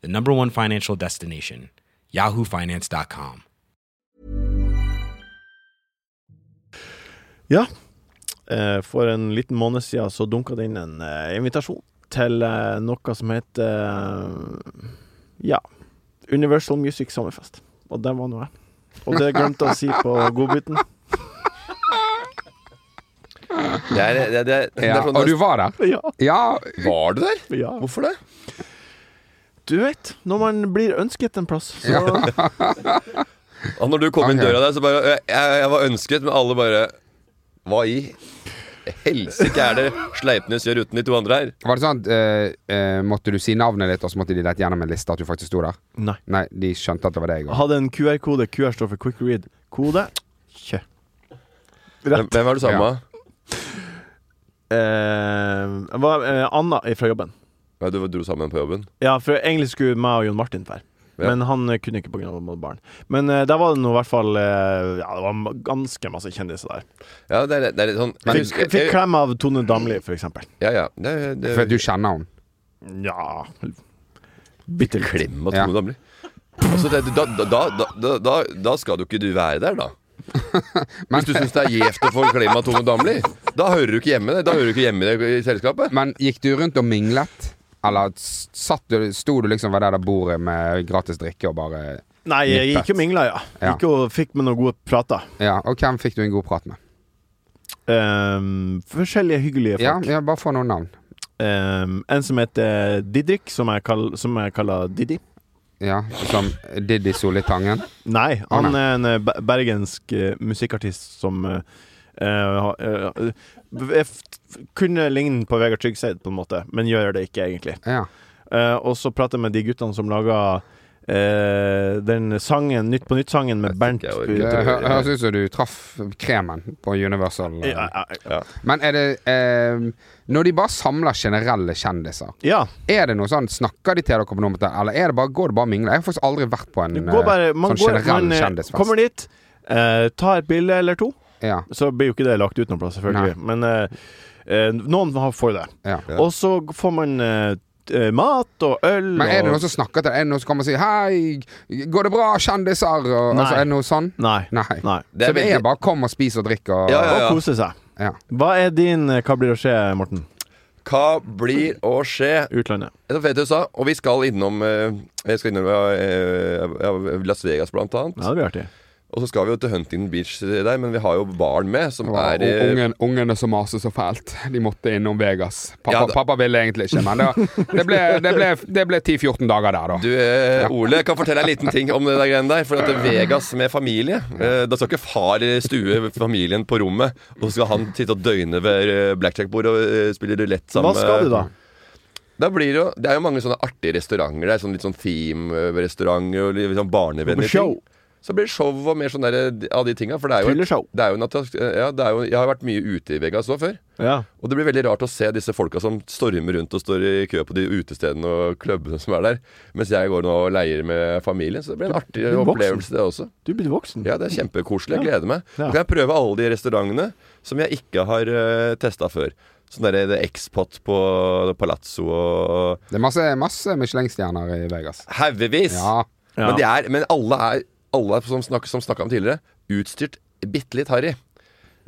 Speaker 4: the number one financial destination, yahoofinance.com.
Speaker 2: Ja. Eh, For en liten måned siden så dunka det inn en eh, invitasjon til eh, noe som heter eh, Ja, Universal Music Sommerfest. Og der var nå jeg. Og det glemte jeg å si på godbiten.
Speaker 1: Det er, det, det, det
Speaker 3: Ja,
Speaker 1: er sånn
Speaker 3: og du var der?
Speaker 2: Ja,
Speaker 3: Ja.
Speaker 1: Var du der?
Speaker 2: ja.
Speaker 1: Hvorfor det?
Speaker 2: Du vet, når man blir ønsket en plass, så
Speaker 1: Og når du kom inn
Speaker 3: Ok.
Speaker 1: døra der, så bare jeg, jeg, jeg var ønsket, men alle bare Hva i? helsike er det Sleipnes gjør uten de to andre her?
Speaker 3: Var det sånn at eh, eh, måtte du si navnet ditt, og så måtte de lette gjennom en liste at du faktisk sto der?
Speaker 2: Nei.
Speaker 3: Nei, de skjønte at det var deg.
Speaker 2: Jeg
Speaker 3: Og...
Speaker 2: hadde en QR-kode. QR står for quick read. Kode. Kjø.
Speaker 1: Hvem
Speaker 2: Rett.
Speaker 1: hvem er det samme?
Speaker 3: Ja.
Speaker 2: Eh, jeg var eh, Anna fra jobben.
Speaker 1: Ja, du dro sammen på jobben?
Speaker 2: Ja, for egentlig skulle meg og Jon Martin dra.
Speaker 1: Ja.
Speaker 2: Men han eh, kunne ikke pga. barn. Men eh, der var det nå i hvert fall eh, Ja, det var ma- ganske masse kjendiser der.
Speaker 1: Ja, det er, det er litt sånn
Speaker 2: Fikk, fikk klem av Tone Damli, for eksempel.
Speaker 1: Ja, ja. Det, er- det,
Speaker 3: For at du kjenner henne.
Speaker 2: Ja Bitte litt.
Speaker 1: Klem og
Speaker 3: Ja.
Speaker 1: Tone Damli. Altså, det, da, da, da, da, da, da skal du ikke du være der, da. Hvis du syns det er gjevt å få klem av Tone Damli, da hører du ikke hjemme det. Da hører du ikke hjemme i det i selskapet.
Speaker 3: Men gikk du rundt og minglet? Eller s- satt du, sto du liksom ved det der bordet med gratis drikke og bare
Speaker 2: Nei, jeg
Speaker 3: Nippet.
Speaker 2: gikk og mingla, ja.
Speaker 3: Ja.
Speaker 2: Gikk og fikk med noen gode prater.
Speaker 3: Ja, og hvem fikk du en god prat med?
Speaker 2: Ehm, forskjellige hyggelige
Speaker 3: Ja,
Speaker 2: folk.
Speaker 3: ja bare få noen navn.
Speaker 2: Ehm, en som heter Didrik, som jeg, kall, som jeg kaller Didi.
Speaker 3: Ja, Som Diddy Solitangen.
Speaker 2: Nei, han
Speaker 3: nei.
Speaker 2: er en eh, be- bergensk eh, musikkartist som eh, eh, ha- eh, eh, f- f- kunne ligne på Vegard Tryggseid, på en måte, men gjør det ikke, egentlig.
Speaker 3: Ja.
Speaker 2: Eh, og så prater jeg med de guttene som laga eh, den sangen, Nytt på nytt-sangen med
Speaker 1: Jeg
Speaker 2: Bernt
Speaker 1: tenker jeg
Speaker 2: Bu-
Speaker 1: orker
Speaker 3: Det
Speaker 1: ikke.
Speaker 2: Ja,
Speaker 3: hø- høres ut som du traff kremen på Universal. eh.
Speaker 2: ja, ja.
Speaker 3: Men er det eh, Når de bare samler generelle kjendiser,
Speaker 2: ja.
Speaker 3: er det noe sånn Snakker de til dere på noe om dette, eller er det bare, går det bare og mingler? Jeg har faktisk aldri vært på en
Speaker 2: Du går bare,
Speaker 3: eh,
Speaker 2: man
Speaker 3: sånn
Speaker 2: går,
Speaker 3: generell
Speaker 2: man eh,
Speaker 3: kjendisfest.
Speaker 2: kommer dit, eh, tar et bilde eller to,
Speaker 3: Ja,
Speaker 2: så blir jo ikke det lagt ut noen plass, selvfølgelig. Men eh, eh, noen har- får det.
Speaker 3: ja.
Speaker 2: Og så får man eh, t- eh, mat og øl
Speaker 3: Men er det
Speaker 2: og
Speaker 3: noen som snakker til deg? Er det noen som kommer og sier 'Hei, går det bra, kjendiser?' Og, altså,
Speaker 2: Nei.
Speaker 3: er det noe sånn?
Speaker 2: Nei.
Speaker 3: Nei.
Speaker 2: Nei.
Speaker 1: Det
Speaker 3: Så
Speaker 1: er
Speaker 3: det
Speaker 1: veldig-
Speaker 3: er bare 'kom og spis og drikk' og
Speaker 1: Ja, ja,
Speaker 2: Og kose seg.
Speaker 3: Ja.
Speaker 2: Hva er din eh, Hva blir å skje, Morten?
Speaker 1: Hva blir å skje?
Speaker 2: Utlandet.
Speaker 1: Det var fett i USA, og vi skal innom eh, Jeg skal innom eh, eh, Las Vegas, blant annet.
Speaker 2: Ja, det blir artig.
Speaker 1: Og så skal vi jo til Huntington Beach der, men vi har jo barn med, som
Speaker 3: Og
Speaker 1: er eh,
Speaker 3: ungen, ungene som maser så fælt. De måtte innom Vegas. Pappa,
Speaker 1: Ja, da-
Speaker 3: pappa ville egentlig ikke, men det, det ble, det ble, det ble 10-14 dager der, da.
Speaker 1: Du, eh, Ole, kan fortelle deg en liten ting om det der greiene der. For at Vegas med familie eh, Da skal ikke far eh, stue familien på rommet, og så skal han sitte og døgne ved eh, blackjack-bordet og eh, spille rulett sammen.
Speaker 2: Hva skal du, da?
Speaker 1: Da blir det, jo, det er jo mange sånne artige restauranter der. Sånn litt sånn theme-restaurant og litt sånn barnevennlig
Speaker 2: Show.
Speaker 1: ting. Så blir det show og mer sånn der, eh, av de tinga. For det er jo,
Speaker 2: Fylleshow.
Speaker 1: det er jo en attrakt- ja, det er jo, Jeg har vært mye ute i Vegas òg før.
Speaker 2: Ja.
Speaker 1: Og det blir veldig rart å se disse folka som stormer rundt og står i kø på de utestedene og klubbene som er der, mens jeg går nå og leier med familien. Så det blir en artig
Speaker 2: er voksen.
Speaker 1: opplevelse, det også.
Speaker 2: Du er blitt voksen.
Speaker 1: Ja, det er kjempekoselig. Jeg gleder meg.
Speaker 2: Ja.
Speaker 1: Nå kan jeg prøve alle de restaurantene som jeg ikke har uh, testa før. Sånn derre The X-Pot på Palazzo og
Speaker 3: Det er masse, masse Michelin-stjerner i Vegas.
Speaker 1: Haugevis!
Speaker 3: Ja.
Speaker 2: Ja.
Speaker 1: Men, de er, men alle er, alle er som snakka som snakket om tidligere, utstyrt bitte litt harry.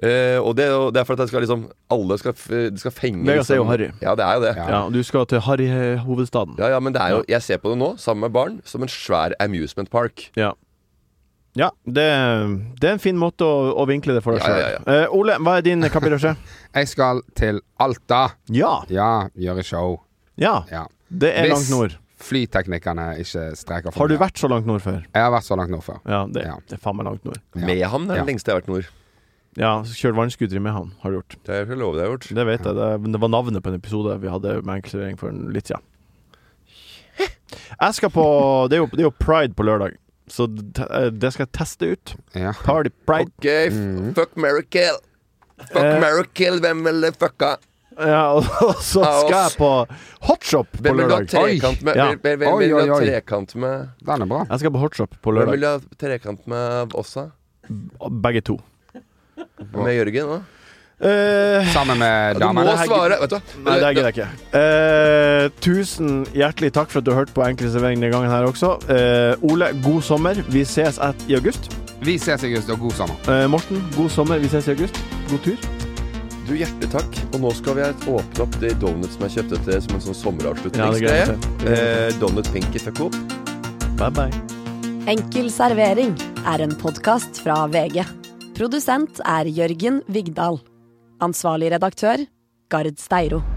Speaker 1: Eh, og det, og det er for at jeg skal liksom Alle skal, f- det skal fenge
Speaker 2: Vegas er jo
Speaker 1: liksom-
Speaker 2: harry.
Speaker 1: Ja, det er jo det.
Speaker 3: Ja.
Speaker 2: Ja, du skal til Harry-hovedstaden.
Speaker 1: Ja, ja, men det er jo, jeg ser på det nå, sammen med barn, som en svær amusement park.
Speaker 2: Ja. Ja, det, det er en fin måte å, å vinkle det for deg
Speaker 1: Ja,
Speaker 2: sjøl.
Speaker 1: ja,
Speaker 2: eh, Ole, hva er din kapirasje?
Speaker 3: Jeg skal til Alta.
Speaker 2: ja.
Speaker 3: Ja, gjøre show.
Speaker 2: Ja.
Speaker 3: Ja.
Speaker 2: Det er
Speaker 3: Hvis
Speaker 2: langt nord.
Speaker 3: Flyteknikerne ikke streiker for
Speaker 2: Har du
Speaker 3: mye.
Speaker 2: vært så langt nord før?
Speaker 3: Jeg har vært så langt nord før.
Speaker 2: Ja, det,
Speaker 3: Ja.
Speaker 2: det er faen meg langt nord.
Speaker 3: Ja.
Speaker 1: Mehamn er den
Speaker 3: Ja.
Speaker 1: lengste jeg har vært nord.
Speaker 2: Ja, kjørt vannskuter i Mehamn har du gjort.
Speaker 1: Det skal jeg love deg, jeg har gjort.
Speaker 2: Det vet jeg. Det, men det var navnet på en episode vi hadde med enkeltservering for en litt siden. Jeg skal på det er, jo, det er jo pride på lørdag, så te- eh, det skal jeg teste ut.
Speaker 3: Ja.
Speaker 2: Party pride.
Speaker 1: Ok, f-
Speaker 3: Mm.
Speaker 1: fuck Mary Kill. Fuck
Speaker 2: Eh.
Speaker 1: Mary Kill, hvem vil det fucka?
Speaker 2: Ja, og så skal jeg på hotshop på
Speaker 1: Hvem vil du ha
Speaker 2: lørdag.
Speaker 1: trekant med?
Speaker 2: Ja.
Speaker 1: Hvem, hvem, hvem
Speaker 3: Oi,
Speaker 1: vil du
Speaker 3: oi,
Speaker 1: ha
Speaker 3: oi.
Speaker 1: trekant med?
Speaker 3: Den er bra.
Speaker 2: Jeg skal på hotshop på
Speaker 1: Hvem vil
Speaker 2: lørdag.
Speaker 1: du ha trekant med også?
Speaker 2: Begge to.
Speaker 1: Med Jørgen òg?
Speaker 2: Eh,
Speaker 3: Sammen med
Speaker 1: Du må
Speaker 3: damene.
Speaker 1: svare, vet du.
Speaker 2: Nei, det gidder jeg ikke. Eh, tusen hjertelig takk for at du hørte på Enkel servering denne gangen her også. Eh, Ole, god sommer. Vi ses at, i august.
Speaker 3: Vi ses i august, og god sommer.
Speaker 2: Eh, Morten, god sommer. Vi ses i august. God tur.
Speaker 1: Du, hjertelig takk. Og nå skal vi åpne opp de donuts som jeg kjøpte til som en sånn
Speaker 2: Ja, det gleder
Speaker 1: sommeravslutningsgreie.
Speaker 2: jeg meg til.
Speaker 1: eh, donut Pinky Fuck Opp.
Speaker 2: Bye bye.
Speaker 6: Enkel servering er en podkast fra VG. Produsent er Jørgen Vigdal. Ansvarlig redaktør, Gard Steiro.